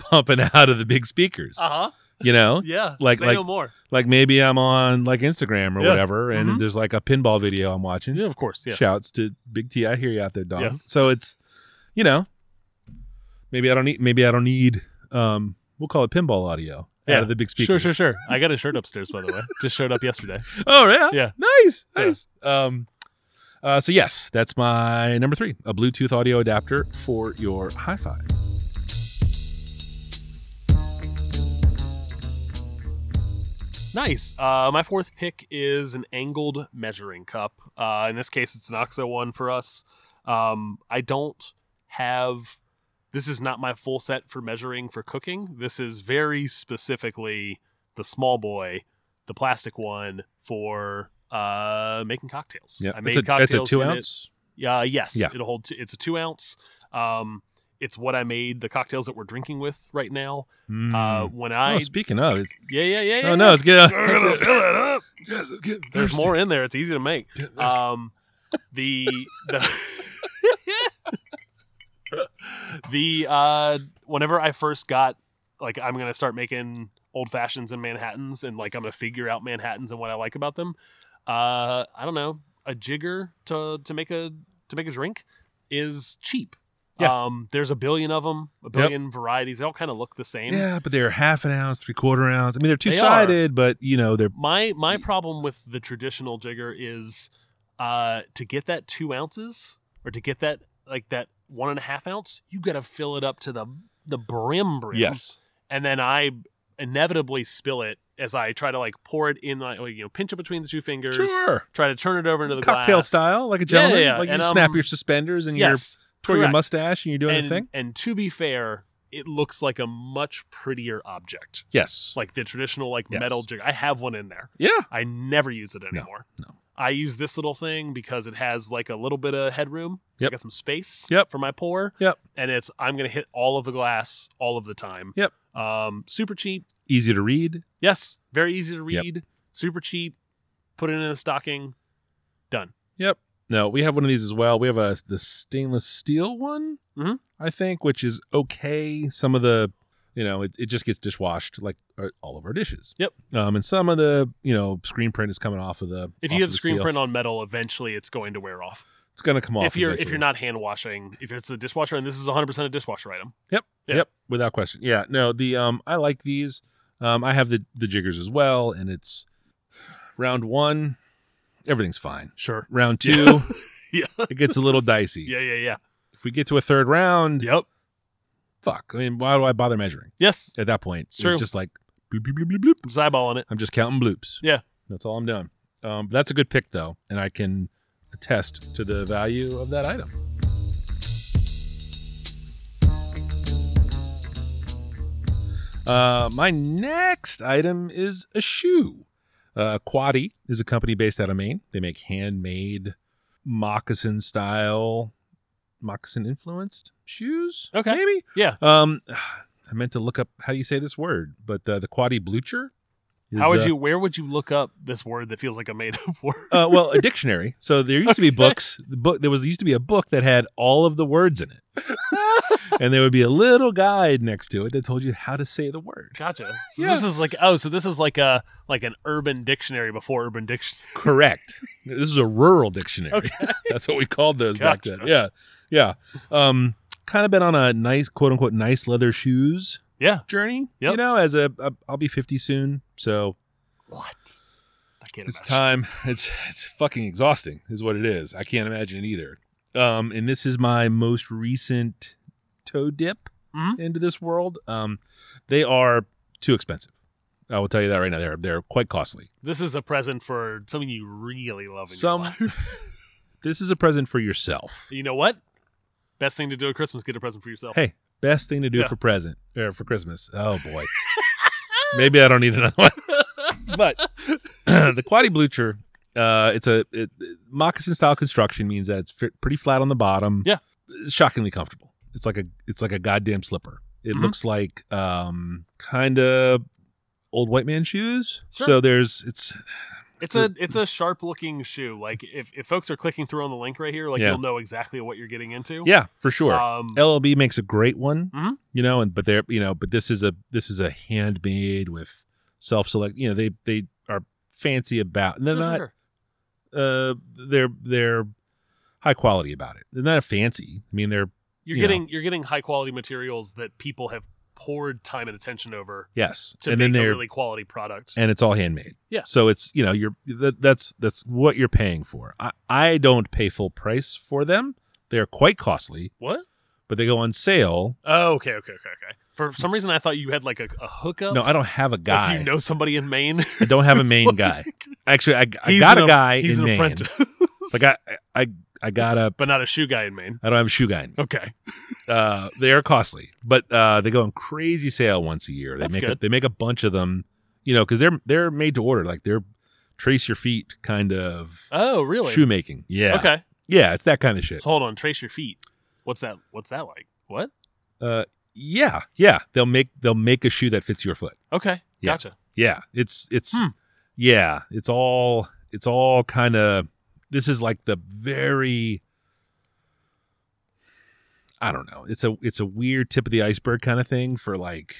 Speaker 1: pumping out of the big speakers,
Speaker 2: Uh huh.
Speaker 1: you know?
Speaker 2: Yeah.
Speaker 1: Like-
Speaker 2: Say
Speaker 1: like-
Speaker 2: no more.
Speaker 1: Like maybe I'm on like Instagram or
Speaker 2: Yeah.
Speaker 1: whatever and
Speaker 2: Mhm.
Speaker 1: there's like a pinball video I'm watching
Speaker 2: Yeah, of course. Yes.
Speaker 1: shouts to Big T. I hear you out there, Don.
Speaker 2: Yes.
Speaker 1: So it's, you know, maybe I don't need. Maybe I don't need. Um, we'll call it pinball audio out
Speaker 2: Yeah.
Speaker 1: of the big
Speaker 2: Sure,
Speaker 1: speakers.
Speaker 2: sure, sure. I got a shirt upstairs, by the way. Just showed up yesterday.
Speaker 1: Oh yeah,
Speaker 2: Yeah.
Speaker 1: Nice,
Speaker 2: Yeah.
Speaker 1: nice. Um, uh, so yes, that's my number three: a Bluetooth audio adapter for your hi-fi.
Speaker 2: Nice. Uh, my fourth pick is an angled measuring cup. Uh, in this case, it's an OXO one for us. Um, I don't have. This is not my full set for measuring for cooking. This is very specifically the small boy, the plastic one for uh, making cocktails. I made
Speaker 1: it's a,
Speaker 2: cocktails.
Speaker 1: It's a two
Speaker 2: in it.
Speaker 1: ounce.
Speaker 2: Yeah, Uh, yes.
Speaker 1: Yeah.
Speaker 2: It'll hold. T- it's a two ounce. Um, it's what I made the cocktails that we're drinking with right now.
Speaker 1: Mm.
Speaker 2: Uh, when I
Speaker 1: oh, speaking of, it's,
Speaker 2: yeah yeah yeah yeah.
Speaker 1: oh no, it's good.
Speaker 2: We're gonna fill it up.
Speaker 1: Yes, I'm getting
Speaker 2: There's
Speaker 1: thirsty.
Speaker 2: more in there. It's easy to make.
Speaker 1: Get thirsty.
Speaker 2: Um, the the the uh, whenever I first got like I'm gonna start making old fashions and Manhattans and like I'm gonna figure out Manhattans and what I like about them. Uh, I don't know a jigger to to make a to make a drink is cheap.
Speaker 1: Yeah.
Speaker 2: Um, there's a billion of them, a billion varieties. They all kind of look the same.
Speaker 1: Yeah, but they're half an ounce, three quarter ounce. I mean, they're two
Speaker 2: They
Speaker 1: sided, but you know they're
Speaker 2: My my problem with the traditional jigger is uh, to get that two ounces or to get that like that one and a half ounce, you got to fill it up to the the brim brim. and then I inevitably spill it as I try to like pour it in, like you know, pinch it between the two fingers,
Speaker 1: sure.
Speaker 2: try to turn it over into the
Speaker 1: Cocktail
Speaker 2: glass.
Speaker 1: style, like a
Speaker 2: Yeah, yeah,
Speaker 1: gentleman.
Speaker 2: yeah.
Speaker 1: Like you
Speaker 2: And,
Speaker 1: snap
Speaker 2: um,
Speaker 1: your suspenders and your
Speaker 2: Yes,
Speaker 1: twirl your
Speaker 2: correct.
Speaker 1: mustache and you're doing
Speaker 2: and,
Speaker 1: a thing.
Speaker 2: and to be fair, it looks like a much prettier object,
Speaker 1: Yes.
Speaker 2: like the traditional like
Speaker 1: Yes.
Speaker 2: metal jig. I have one in there.
Speaker 1: yeah.
Speaker 2: I never use it anymore.
Speaker 1: no.
Speaker 2: I use this little thing because it has like a little bit of headroom.
Speaker 1: Yep.
Speaker 2: I got some space
Speaker 1: Yep.
Speaker 2: for my pour.
Speaker 1: Yep.
Speaker 2: And it's I'm gonna hit all of the glass all of the time.
Speaker 1: Yep.
Speaker 2: Um, super cheap.
Speaker 1: Easy to read.
Speaker 2: Yes, very easy to
Speaker 1: Yep.
Speaker 2: read, super cheap. Put it in a stocking. Done.
Speaker 1: Yep. No, we have one of these as well. We have a the stainless steel one,
Speaker 2: Mhm.
Speaker 1: I think, which is okay. Some of the, you know, it, it just gets dishwashed like uh, all of our dishes.
Speaker 2: Yep.
Speaker 1: Um, and some of the, you know, screen print is coming off of the.
Speaker 2: If
Speaker 1: off
Speaker 2: you
Speaker 1: of
Speaker 2: have
Speaker 1: the
Speaker 2: screen
Speaker 1: steel.
Speaker 2: print on metal, eventually it's going to wear off.
Speaker 1: it's gonna come off.
Speaker 2: if you're if
Speaker 1: eventually.
Speaker 2: you're not hand washing, if it's a dishwasher, and this is 100 percent a dishwasher item.
Speaker 1: Yep.
Speaker 2: Yeah.
Speaker 1: Yep. Without question. Yeah. No. The um, I like these. Um, I have the the jiggers as well, and it's round one, everything's fine.
Speaker 2: Sure.
Speaker 1: Round
Speaker 2: Yeah.
Speaker 1: two,
Speaker 2: Yeah.
Speaker 1: it gets a little dicey.
Speaker 2: Yeah. Yeah. Yeah.
Speaker 1: If we get to a third round,
Speaker 2: Yep.
Speaker 1: fuck. I mean, why do I bother measuring
Speaker 2: Yes.
Speaker 1: at that point? It's,
Speaker 2: true.
Speaker 1: just like bloop, bloop, bloop, bloop, bloop.
Speaker 2: I'm just eyeballing it.
Speaker 1: I'm just counting bloops.
Speaker 2: Yeah.
Speaker 1: That's all I'm doing. Um, that's a good pick though, and I can attest to the value of that item. Uh, my next item is a shoe. Uh, Quadi is a company based out of Maine. They make handmade moccasin style, moccasin influenced shoes.
Speaker 2: Okay.
Speaker 1: Maybe.
Speaker 2: Yeah.
Speaker 1: Um, I meant to look up how do you say this word, but uh, the Quadi Blucher. is,
Speaker 2: How would
Speaker 1: uh,
Speaker 2: you? Where would you look up this word that feels like a made up word?
Speaker 1: uh, well, a dictionary. So there used to be books. The book there was used to be a book that had all of the words in it, and there would be a little guide next to it that told you how to say the word.
Speaker 2: Gotcha. So
Speaker 1: Yeah.
Speaker 2: this is like oh, so this is like a like an urban dictionary before urban dictionary.
Speaker 1: Correct. This is a rural dictionary. That's what we called those back
Speaker 2: Gotcha.
Speaker 1: then. Yeah, yeah. Um, kind of been on a nice, quote unquote, nice leather shoes
Speaker 2: Yeah.
Speaker 1: journey. You
Speaker 2: Yep.
Speaker 1: know, as a, a I'll be fifty soon, so
Speaker 2: What? I can't.
Speaker 1: It's
Speaker 2: imagine.
Speaker 1: time. It's it's fucking exhausting, is what it is. I can't imagine it either. Um, and this is my most recent toe dip
Speaker 2: Mhm.
Speaker 1: into this world. Um, they are too expensive. I will tell you that right now. They're they're quite costly.
Speaker 2: This is a present for something you really love. In Your
Speaker 1: Some.
Speaker 2: life.
Speaker 1: this is a present for yourself.
Speaker 2: You know what? Best thing to do at Christmas: get a present for yourself.
Speaker 1: Hey, best thing to do
Speaker 2: Yeah.
Speaker 1: for present or for Christmas. Oh boy. Maybe I don't need another one. but the Quadi Blucher, uh, it's a it, moccasin style construction means that it's fi- pretty flat on the bottom.
Speaker 2: Yeah.
Speaker 1: shockingly comfortable. It's like a it's like a goddamn slipper. It
Speaker 2: Mhm.
Speaker 1: looks like um kind of old white man shoes.
Speaker 2: Sure.
Speaker 1: So there's it's
Speaker 2: It's a it's a sharp looking shoe. Like if, if folks are clicking through on the link right here, like
Speaker 1: Yeah.
Speaker 2: you'll know exactly what you're getting into.
Speaker 1: yeah for sure.
Speaker 2: Um,
Speaker 1: LLB makes a great one,
Speaker 2: Mhm.
Speaker 1: you know, and but they're you know, but this is a this is a handmade with self select. You know, they they are fancy about, and they're
Speaker 2: sure, sure,
Speaker 1: not
Speaker 2: sure.
Speaker 1: uh they're they're high quality about it. They're not fancy. I mean, they're you
Speaker 2: You're getting you're getting high quality materials that people have poured time and attention over
Speaker 1: yes,
Speaker 2: to
Speaker 1: and
Speaker 2: make
Speaker 1: then
Speaker 2: a
Speaker 1: they're
Speaker 2: really quality product.
Speaker 1: and it's all handmade.
Speaker 2: Yeah.
Speaker 1: So it's you know you're that, that's that's what you're paying for. I I don't pay full price for them. They're quite costly,
Speaker 2: what?
Speaker 1: but they go on sale.
Speaker 2: Oh, okay, okay, okay, okay. For some reason, I thought you had like a, a hookup.
Speaker 1: No, I don't have a
Speaker 2: Like,
Speaker 1: guy.
Speaker 2: you know somebody in Maine.
Speaker 1: I don't have a
Speaker 2: It's
Speaker 1: main
Speaker 2: like-
Speaker 1: guy. Actually, I, I
Speaker 2: He's
Speaker 1: got
Speaker 2: an
Speaker 1: a
Speaker 2: ap-
Speaker 1: guy
Speaker 2: He's
Speaker 1: in
Speaker 2: an
Speaker 1: Maine.
Speaker 2: apprentice,
Speaker 1: Like I, I, I got a.
Speaker 2: but not a shoe guy in Maine.
Speaker 1: I don't have a shoe guy. in me.
Speaker 2: Okay,
Speaker 1: Uh, they are costly, but uh, they go on crazy sale once a year. They
Speaker 2: That's
Speaker 1: make A,
Speaker 2: good.
Speaker 1: they make a bunch of them, you know, because they're they're made to order. Like they're trace your feet kind of
Speaker 2: Oh, really?
Speaker 1: shoemaking. Yeah,
Speaker 2: Okay.
Speaker 1: yeah, it's that kind of
Speaker 2: So
Speaker 1: shit.
Speaker 2: hold on. Trace your feet. What's that? What's that like? What?
Speaker 1: Uh, yeah, yeah, they'll make they'll make a shoe that fits your foot.
Speaker 2: Okay.
Speaker 1: Yeah.
Speaker 2: Gotcha.
Speaker 1: Yeah, it's it's
Speaker 2: Hmm.
Speaker 1: yeah, it's all it's all kind of this is like the very I don't know. It's a it's a weird tip of the iceberg kind of thing for like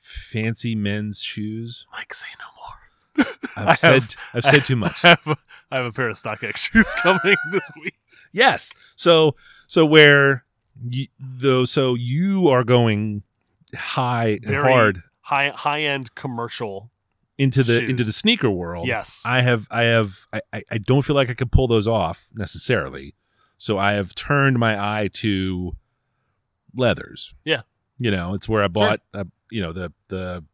Speaker 1: fancy men's shoes.
Speaker 2: Mike, say no more.
Speaker 1: I've
Speaker 2: I have-
Speaker 1: said I've said too much.
Speaker 2: I have, a, I have a pair of StockX shoes coming this week.
Speaker 1: Yes. So so where You, though, so you are going high and
Speaker 2: Very-
Speaker 1: hard
Speaker 2: High high end commercial.
Speaker 1: into the
Speaker 2: shoes.
Speaker 1: into the sneaker world.
Speaker 2: Yes.
Speaker 1: I have I have I, I- I don't feel like I could pull those off necessarily. So I have turned my eye to leathers.
Speaker 2: Yeah.
Speaker 1: You know, it's where I bought uh, you know the the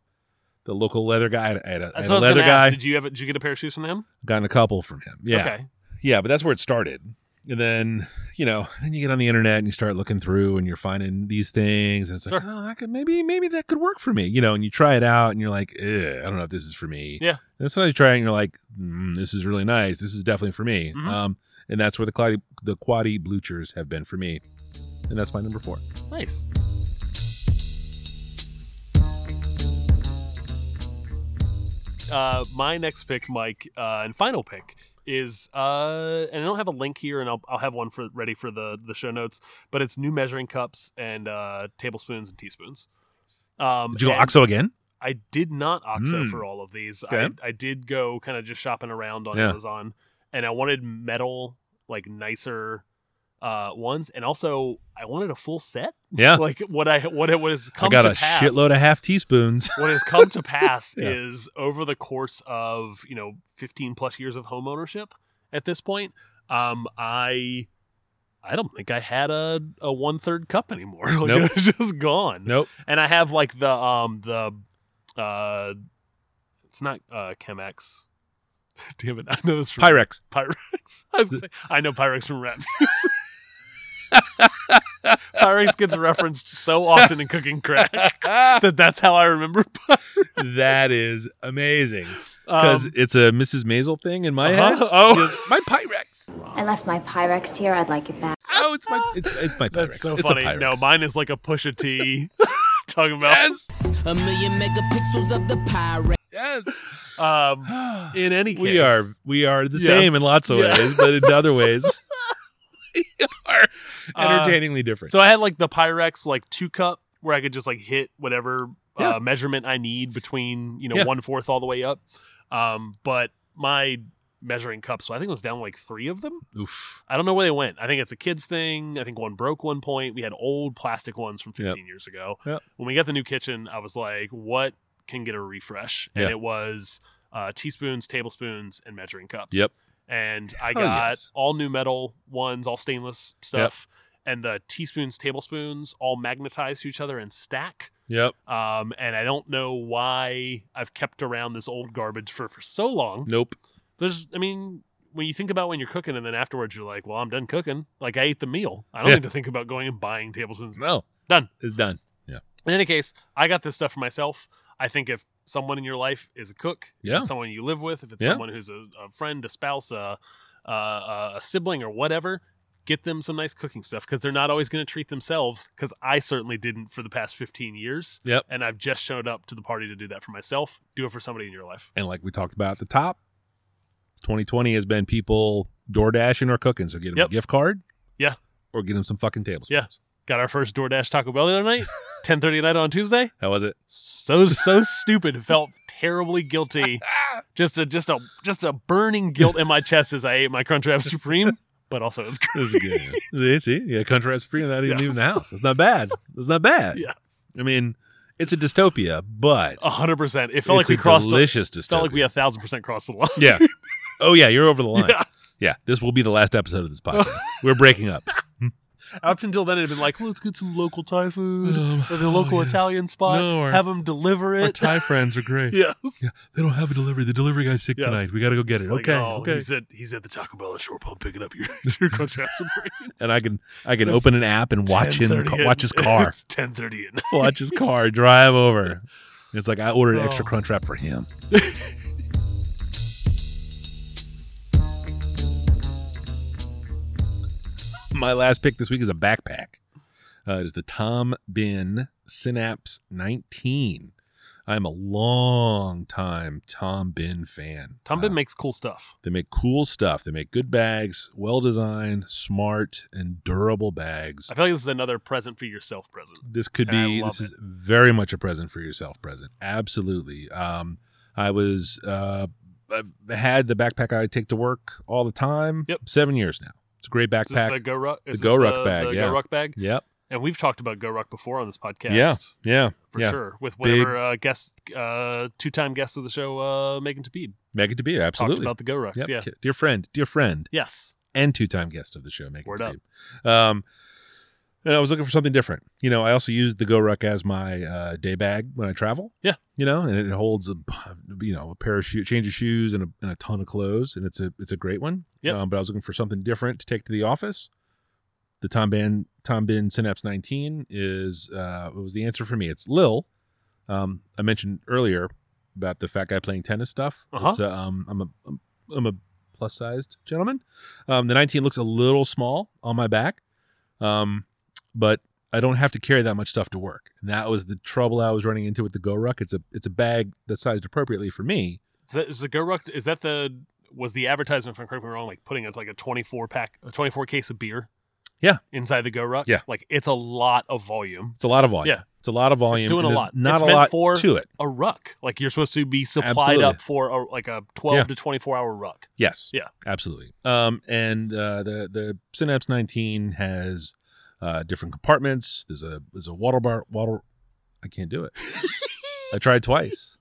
Speaker 1: the local leather guy. I had a- I had a,
Speaker 2: That's what I was
Speaker 1: leather
Speaker 2: gonna
Speaker 1: guy.
Speaker 2: ask. Did you have? Did you get a pair of shoes from him?
Speaker 1: Gotten a couple from him. Yeah.
Speaker 2: Okay.
Speaker 1: Yeah, but that's where it started. And then, you know, then you get on the internet and you start looking through and you're finding these things and it's like,
Speaker 2: Sure.
Speaker 1: oh, that could maybe maybe that could work for me. You know, and you try it out and you're like, "Eh, I don't know if this is for me.
Speaker 2: Yeah.
Speaker 1: And sometimes you try it and you're like, mm, this is really nice. This is definitely for me.
Speaker 2: Mhm.
Speaker 1: Um, and that's where the quaddy the quaddy bluchers have been for me. And that's my number four.
Speaker 2: Nice. Uh, my next pick, Mike, uh, and final pick is, uh, and I don't have a link here, and I'll, I'll have one for ready for the the show notes. But it's new measuring cups and uh, tablespoons and teaspoons. Um,
Speaker 1: Did you go
Speaker 2: and-
Speaker 1: OXO again?
Speaker 2: I did not OXO
Speaker 1: Mm.
Speaker 2: for all of these.
Speaker 1: Okay.
Speaker 2: I, I did go kind of just shopping around on
Speaker 1: Yeah.
Speaker 2: Amazon, and I wanted metal, like nicer uh, ones, and also I wanted a full set.
Speaker 1: Yeah.
Speaker 2: Like what I what it was come
Speaker 1: I got
Speaker 2: to
Speaker 1: a
Speaker 2: pass.
Speaker 1: shitload of half teaspoons.
Speaker 2: what has come to pass
Speaker 1: Yeah.
Speaker 2: is over the course of you know 15 plus years of home ownership at this point um i i don't think i had a a one third cup anymore like
Speaker 1: Nope.
Speaker 2: it was just gone
Speaker 1: Nope.
Speaker 2: and I have like the um the uh it's not uh Chemex. Damn it, I know this from
Speaker 1: Pyrex.
Speaker 2: Pyrex. I, was gonna say, I know Pyrex from Rat Fuse. Pyrex gets referenced so often in Cooking Crack that that's how I remember.
Speaker 1: that is amazing.
Speaker 2: Um,
Speaker 1: Because it's a Mrs. Maisel thing in my
Speaker 2: uh-huh.
Speaker 1: head.
Speaker 2: Oh,
Speaker 1: my Pyrex.
Speaker 5: I left my Pyrex here. I'd like it back.
Speaker 1: Oh, it's my it's, it's my Pyrex.
Speaker 2: that's so
Speaker 1: it's a
Speaker 2: funny.
Speaker 1: Pyrex.
Speaker 2: No, mine is like a push a T. talking about
Speaker 1: Yes,
Speaker 7: A million megapixels of the pirate.
Speaker 1: yes.
Speaker 2: um in any case
Speaker 1: we are we are the
Speaker 2: Yes.
Speaker 1: same in lots of
Speaker 2: Yeah.
Speaker 1: ways, but in other ways, we are
Speaker 2: Uh,
Speaker 1: entertainingly different.
Speaker 2: So I had like the Pyrex like two cup where I could just like hit whatever
Speaker 1: Yeah.
Speaker 2: uh, measurement I need between you know
Speaker 1: Yeah.
Speaker 2: one fourth all the way up. Um, but my measuring cup, so I think it was down like three of them.
Speaker 1: Oof.
Speaker 2: I don't know where they went. I think it's a kids thing. I think one broke one point. We had old plastic ones from 15 years ago.
Speaker 1: Yep.
Speaker 2: When we got the new kitchen, I was like, what can get a refresh? And
Speaker 1: Yeah.
Speaker 2: it was uh, teaspoons, tablespoons, and measuring cups.
Speaker 1: Yep.
Speaker 2: And I
Speaker 1: Hell
Speaker 2: got
Speaker 1: yes.
Speaker 2: all new metal ones, all stainless stuff, and the teaspoons, tablespoons all magnetized to each other and stack.
Speaker 1: Yep.
Speaker 2: Um, and I don't know why I've kept around this old garbage for, for so long
Speaker 1: Nope.
Speaker 2: there's i mean when you think about when you're cooking and then afterwards you're like well i'm done cooking like i ate the meal i don't
Speaker 1: Yeah.
Speaker 2: need to think about going and buying tablespoons
Speaker 1: No.
Speaker 2: Done.
Speaker 1: It's done.
Speaker 2: in any case i got this stuff for myself i think if someone in your life is a cook if
Speaker 1: Yeah.
Speaker 2: it's someone you live with if it's
Speaker 1: Yeah.
Speaker 2: someone who's a, a friend a spouse a, a, a sibling or whatever get them some nice cooking stuff because they're not always going to treat themselves because i certainly didn't for the past 15 years
Speaker 1: Yep.
Speaker 2: and i've just showed up to the party to do that for myself do it for somebody in your life
Speaker 1: And like we talked about at the top, 2020 has been people door dashing or cooking. So get them
Speaker 2: Yep.
Speaker 1: a gift card.
Speaker 2: Yeah.
Speaker 1: Or get them some fucking tablespoons.
Speaker 2: Yeah. got our first DoorDash Taco Bell the other night, 10:30 at night on Tuesday.
Speaker 1: How was it?
Speaker 2: So so stupid. Felt terribly guilty. Just a just a just a burning guilt in my chest as I ate my Crunchwrap Supreme, but also it was great.
Speaker 1: It was good. see, see, yeah, country has free without even
Speaker 2: Yes.
Speaker 1: leaving the house. It's not bad. It's not bad.
Speaker 2: Yes.
Speaker 1: I mean, it's a dystopia, but
Speaker 2: 100%. It felt
Speaker 1: it's
Speaker 2: like we
Speaker 1: a
Speaker 2: crossed the,
Speaker 1: delicious dystopia.
Speaker 2: felt like we 1000% crossed the line.
Speaker 1: yeah. Oh yeah, you're over the line.
Speaker 2: Yes.
Speaker 1: Yeah, this will be the last episode of this podcast. We're breaking up.
Speaker 2: Up until then, it had been like, let's get some local Thai food or the local Italian spot.
Speaker 1: Um, oh, No, or-
Speaker 2: have them deliver it.
Speaker 1: Thai friends are great.
Speaker 2: yes.
Speaker 1: They don't have a delivery. The delivery guy's sick
Speaker 2: Yes.
Speaker 1: tonight. We got to go get
Speaker 2: It's
Speaker 1: it.
Speaker 2: like,
Speaker 1: okay.
Speaker 2: oh,
Speaker 1: okay.
Speaker 2: He's at, he's at the Taco Bell at Shore Pub picking up your, your Crunchwrap Supreme.
Speaker 1: And I can I can
Speaker 2: It's
Speaker 1: open an app and watch him
Speaker 2: 10:30 at-
Speaker 1: watch his car.
Speaker 2: It's ten thirty at night.
Speaker 1: watch his car drive over. It's like I ordered
Speaker 2: Oh.
Speaker 1: extra crunch wrap for him. My last pick this week is a backpack. Uh, it is the Tom Bin Synapse 19. I'm a long time Tom Bin fan.
Speaker 2: Tumbin
Speaker 1: Uh,
Speaker 2: makes cool stuff.
Speaker 1: they make cool stuff. They make good bags, well designed, smart, and durable bags.
Speaker 2: I feel like this is another present for yourself present.
Speaker 1: This could
Speaker 2: And I
Speaker 1: be
Speaker 2: love
Speaker 1: this
Speaker 2: it.
Speaker 1: is very much a present for yourself present. Absolutely. Um I was uh I had the backpack I take to work all the time.
Speaker 2: Yep.
Speaker 1: 7 years now. It's a great
Speaker 2: Is this
Speaker 1: backpack.
Speaker 2: the Go Ruck?
Speaker 1: The Go Ruck
Speaker 2: the,
Speaker 1: bag,
Speaker 2: The
Speaker 1: yeah.
Speaker 2: Go Ruck bag.
Speaker 1: yep.
Speaker 2: And we've talked about GoRuck before on this podcast.
Speaker 1: Yeah. Yeah.
Speaker 2: For
Speaker 1: yeah.
Speaker 2: sure. With whatever uh, guest, uh, two time guest of the show, uh, Megan Tabib,
Speaker 1: Megan Tabib,
Speaker 2: talked
Speaker 1: absolutely.
Speaker 2: about the GoRucks.
Speaker 1: Yep.
Speaker 2: Yeah.
Speaker 1: Dear friend, dear friend,
Speaker 2: Yes.
Speaker 1: and two time guest of the show, Megan
Speaker 2: Word up.
Speaker 1: Tabib. Um, and I was looking for something different. You know, I also use the GoRuck as my uh, day bag when I travel.
Speaker 2: Yeah.
Speaker 1: You know, and it holds a you know a pair of shoe, change of shoes, and a, and a ton of clothes, and it's a it's a great one.
Speaker 2: Yep.
Speaker 1: Um, but I was looking for something different to take to the office. The Tom Bin Tom Bin Synapse 19 is uh, what was the answer for me? It's Lil. Um, I mentioned earlier about the fat guy playing tennis stuff.
Speaker 2: Uh-huh.
Speaker 1: It's, uh, um, I'm a I'm a plus sized gentleman. Um, the 19 looks a little small on my back, um, but I don't have to carry that much stuff to work. And that was the trouble I was running into with the GoRuck. It's a it's a bag that's sized appropriately for me.
Speaker 2: Is, that, is the GoRuck, is that the, was the advertisement, if I'm correct me wrong, like putting it like a 24 pack, a 24 case of beer?
Speaker 1: Yeah.
Speaker 2: Inside the GoRuck?
Speaker 1: Yeah.
Speaker 2: Like it's a lot of volume.
Speaker 1: It's a lot of volume.
Speaker 2: Yeah.
Speaker 1: It's a lot of volume.
Speaker 2: It's doing
Speaker 1: and
Speaker 2: a
Speaker 1: there's
Speaker 2: lot.
Speaker 1: Not
Speaker 2: It's
Speaker 1: a
Speaker 2: meant
Speaker 1: lot
Speaker 2: for-
Speaker 1: to it.
Speaker 2: A ruck. Like you're supposed to be supplied
Speaker 1: Absolutely.
Speaker 2: up for a, like a 12
Speaker 1: Yeah.
Speaker 2: to 24 hour ruck.
Speaker 1: Yes.
Speaker 2: Yeah.
Speaker 1: Absolutely. Um, and uh, the the Synapse 19 has uh, different compartments. There's a there's a water bar water. I can't do it. I tried twice.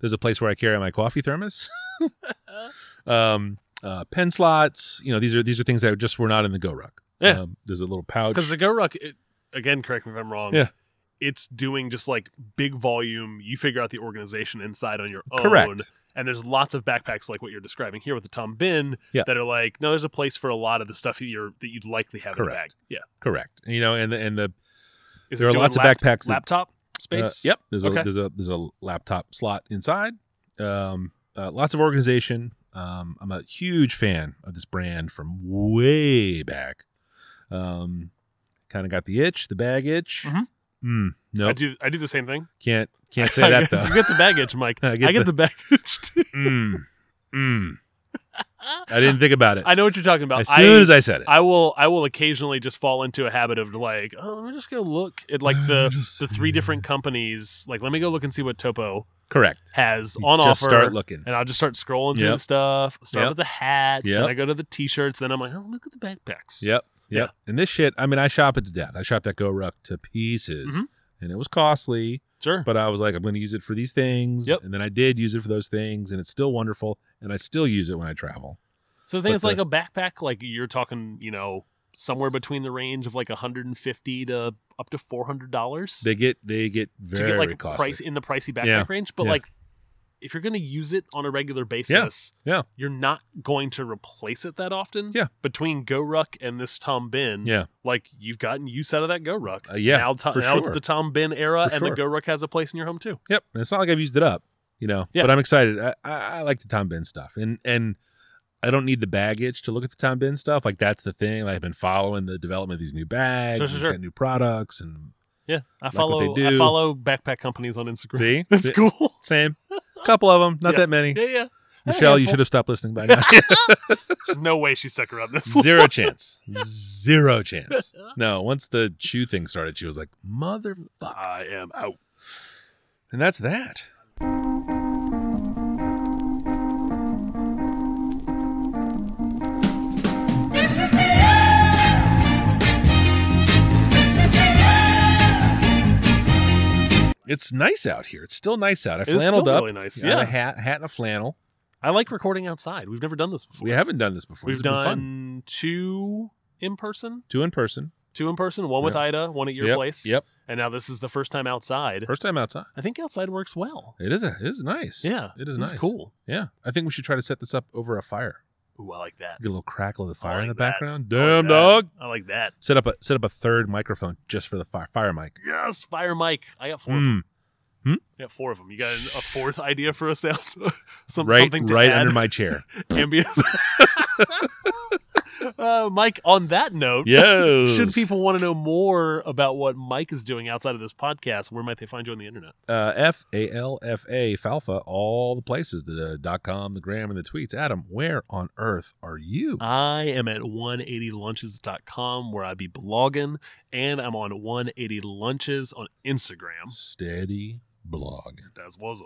Speaker 1: There's a place where I carry my coffee thermos. um, uh, pen slots. You know, these are these are things that just were not in the Go Ruck.
Speaker 2: Yeah.
Speaker 1: Um, there's a little pouch.
Speaker 2: Because the GoRuck, it, again, correct me if I'm wrong.
Speaker 1: Yeah.
Speaker 2: It's doing just like big volume. You figure out the organization inside on your own.
Speaker 1: Correct.
Speaker 2: And there's lots of backpacks like what you're describing here with the Tom Bin
Speaker 1: Yeah.
Speaker 2: that are like, no, there's a place for a lot of the stuff that you're that you'd likely have in a bag.
Speaker 1: Correct.
Speaker 2: Yeah.
Speaker 1: Correct. You know, and the, and the
Speaker 2: Is
Speaker 1: There are
Speaker 2: doing
Speaker 1: lots of backpacks that-
Speaker 2: Laptop
Speaker 1: Uh,
Speaker 2: space.
Speaker 1: yep. There's
Speaker 2: Okay.
Speaker 1: a there's a there's a laptop slot inside. Um, uh, lots of organization. Um, I'm a huge fan of this brand from way back. Um, kind of got the itch, the bag itch.
Speaker 2: Mhm.
Speaker 1: Mm,
Speaker 2: I
Speaker 1: nope,
Speaker 2: do I do the same thing.
Speaker 1: can't can't say that though.
Speaker 2: you get the baggage, Mike. I get, the, baggage too.
Speaker 1: mm, mm. I didn't think about it.
Speaker 2: I know what you're talking about.
Speaker 1: as soon as I said it,
Speaker 2: I will I will occasionally just fall into a habit of like, oh, let me just go look at like the
Speaker 1: Just-
Speaker 2: the three different companies. Like, let me go look and see what Topo
Speaker 1: correct.
Speaker 2: has
Speaker 1: You
Speaker 2: on
Speaker 1: just
Speaker 2: offer.
Speaker 1: start looking.
Speaker 2: and I'll just start scrolling through
Speaker 1: Yep.
Speaker 2: the stuff. Start
Speaker 1: Yep.
Speaker 2: with the hats,
Speaker 1: Yep.
Speaker 2: then I go to the t-shirts, then I'm like, oh, look at the backpacks.
Speaker 1: Yep. Yep.
Speaker 2: Yeah.
Speaker 1: And this shit, I mean, I shop it to death. I shop that Go Ruck to pieces.
Speaker 2: Mhm.
Speaker 1: And it was costly.
Speaker 2: Sure.
Speaker 1: but I was like, I'm going to use it for these things.
Speaker 2: Yep.
Speaker 1: And then I did use it for those things, and it's still wonderful, and I still use it when I travel.
Speaker 2: so the thing
Speaker 1: but
Speaker 2: is, like a backpack, like you're talking, you know, somewhere between the range of like 150 to up to 400 dollars
Speaker 1: They get they get
Speaker 2: to
Speaker 1: very
Speaker 2: get like
Speaker 1: costly.
Speaker 2: price in the pricey backpack
Speaker 1: Yeah.
Speaker 2: range. But
Speaker 1: Yeah.
Speaker 2: like, if you're going to use it on a regular basis,
Speaker 1: Yeah.
Speaker 2: you're not going to replace it that often.
Speaker 1: Yeah.
Speaker 2: Between GoRuck and this Tom Bin,
Speaker 1: Yeah,
Speaker 2: like you've gotten use out of that GoRuck.
Speaker 1: Uh, yeah,
Speaker 2: Now, to-
Speaker 1: for
Speaker 2: now it's
Speaker 1: sure.
Speaker 2: the Tom Bin era,
Speaker 1: For
Speaker 2: and the
Speaker 1: sure.
Speaker 2: GoRuck has a place in your home too.
Speaker 1: yep. And it's not like I've used it up, you know.
Speaker 2: Yeah.
Speaker 1: But I'm excited. I, I, I like the Tom Bin stuff, and and I don't need the baggage to look at the Tom Bin stuff. Like that's the thing. I've been following the development of these new bags,
Speaker 2: Sure, sure,
Speaker 1: and
Speaker 2: sure.
Speaker 1: got new products, and
Speaker 2: Yeah, I
Speaker 1: Like what they
Speaker 2: follow. I
Speaker 1: do.
Speaker 2: follow backpack companies on Instagram.
Speaker 1: see,
Speaker 2: That's
Speaker 1: See?
Speaker 2: cool.
Speaker 1: Same, couple of them, not that many.
Speaker 2: Yeah, yeah.
Speaker 1: Michelle, you should have stopped listening by now.
Speaker 2: There's no way she stuck around this. long.
Speaker 1: Zero chance. Zero chance. No, once the shoe thing started, she was like, motherfucker.
Speaker 2: I am out.
Speaker 1: And that's that. It's nice out here. It's still nice out. I
Speaker 2: is
Speaker 1: flanneled
Speaker 2: still
Speaker 1: up.
Speaker 2: really nice,
Speaker 1: I had
Speaker 2: yeah.
Speaker 1: a hat, hat and a flannel.
Speaker 2: I like recording outside. We've never done this before.
Speaker 1: We haven't done this before.
Speaker 2: We've
Speaker 1: This has been fun.
Speaker 2: done two in person,
Speaker 1: two in person.
Speaker 2: two in person, one with
Speaker 1: Yeah.
Speaker 2: Ida, one at your
Speaker 1: Yep,
Speaker 2: place.
Speaker 1: Yep.
Speaker 2: And now this is the first time outside.
Speaker 1: First time outside.
Speaker 2: I think outside works well.
Speaker 1: It is. A, it is nice.
Speaker 2: Yeah,
Speaker 1: It is
Speaker 2: this
Speaker 1: nice.
Speaker 2: cool.
Speaker 1: Yeah. I think we should try to set this up over a fire.
Speaker 2: Ooh, I like that.
Speaker 1: Get a little crackle of the fire in the
Speaker 2: like that.
Speaker 1: background.
Speaker 2: I like
Speaker 1: Damn
Speaker 2: that.
Speaker 1: dog.
Speaker 2: I like that.
Speaker 1: Set up a set up a third microphone just for the fire fire mic.
Speaker 2: Yes, fire Mike. I got four. Of them.
Speaker 1: Mm,
Speaker 2: I got four of them. You got a fourth idea for a sound? Some,
Speaker 1: right
Speaker 2: something to
Speaker 1: right
Speaker 2: add?
Speaker 1: under my chair.
Speaker 2: ambience. uh, Mike, on that note,
Speaker 1: yes.
Speaker 2: should people want to know more about what Mike is doing outside of this podcast, where might they find you on the internet?
Speaker 1: uh, F A L F A Falfa all the places the uh, dot com the gram and the tweets. Adam, where on earth are you?
Speaker 2: I am at 180lunches.com where I be blogging, and I'm on 180lunches on Instagram.
Speaker 1: Steady blogging.
Speaker 2: That's what's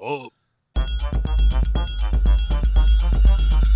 Speaker 2: up.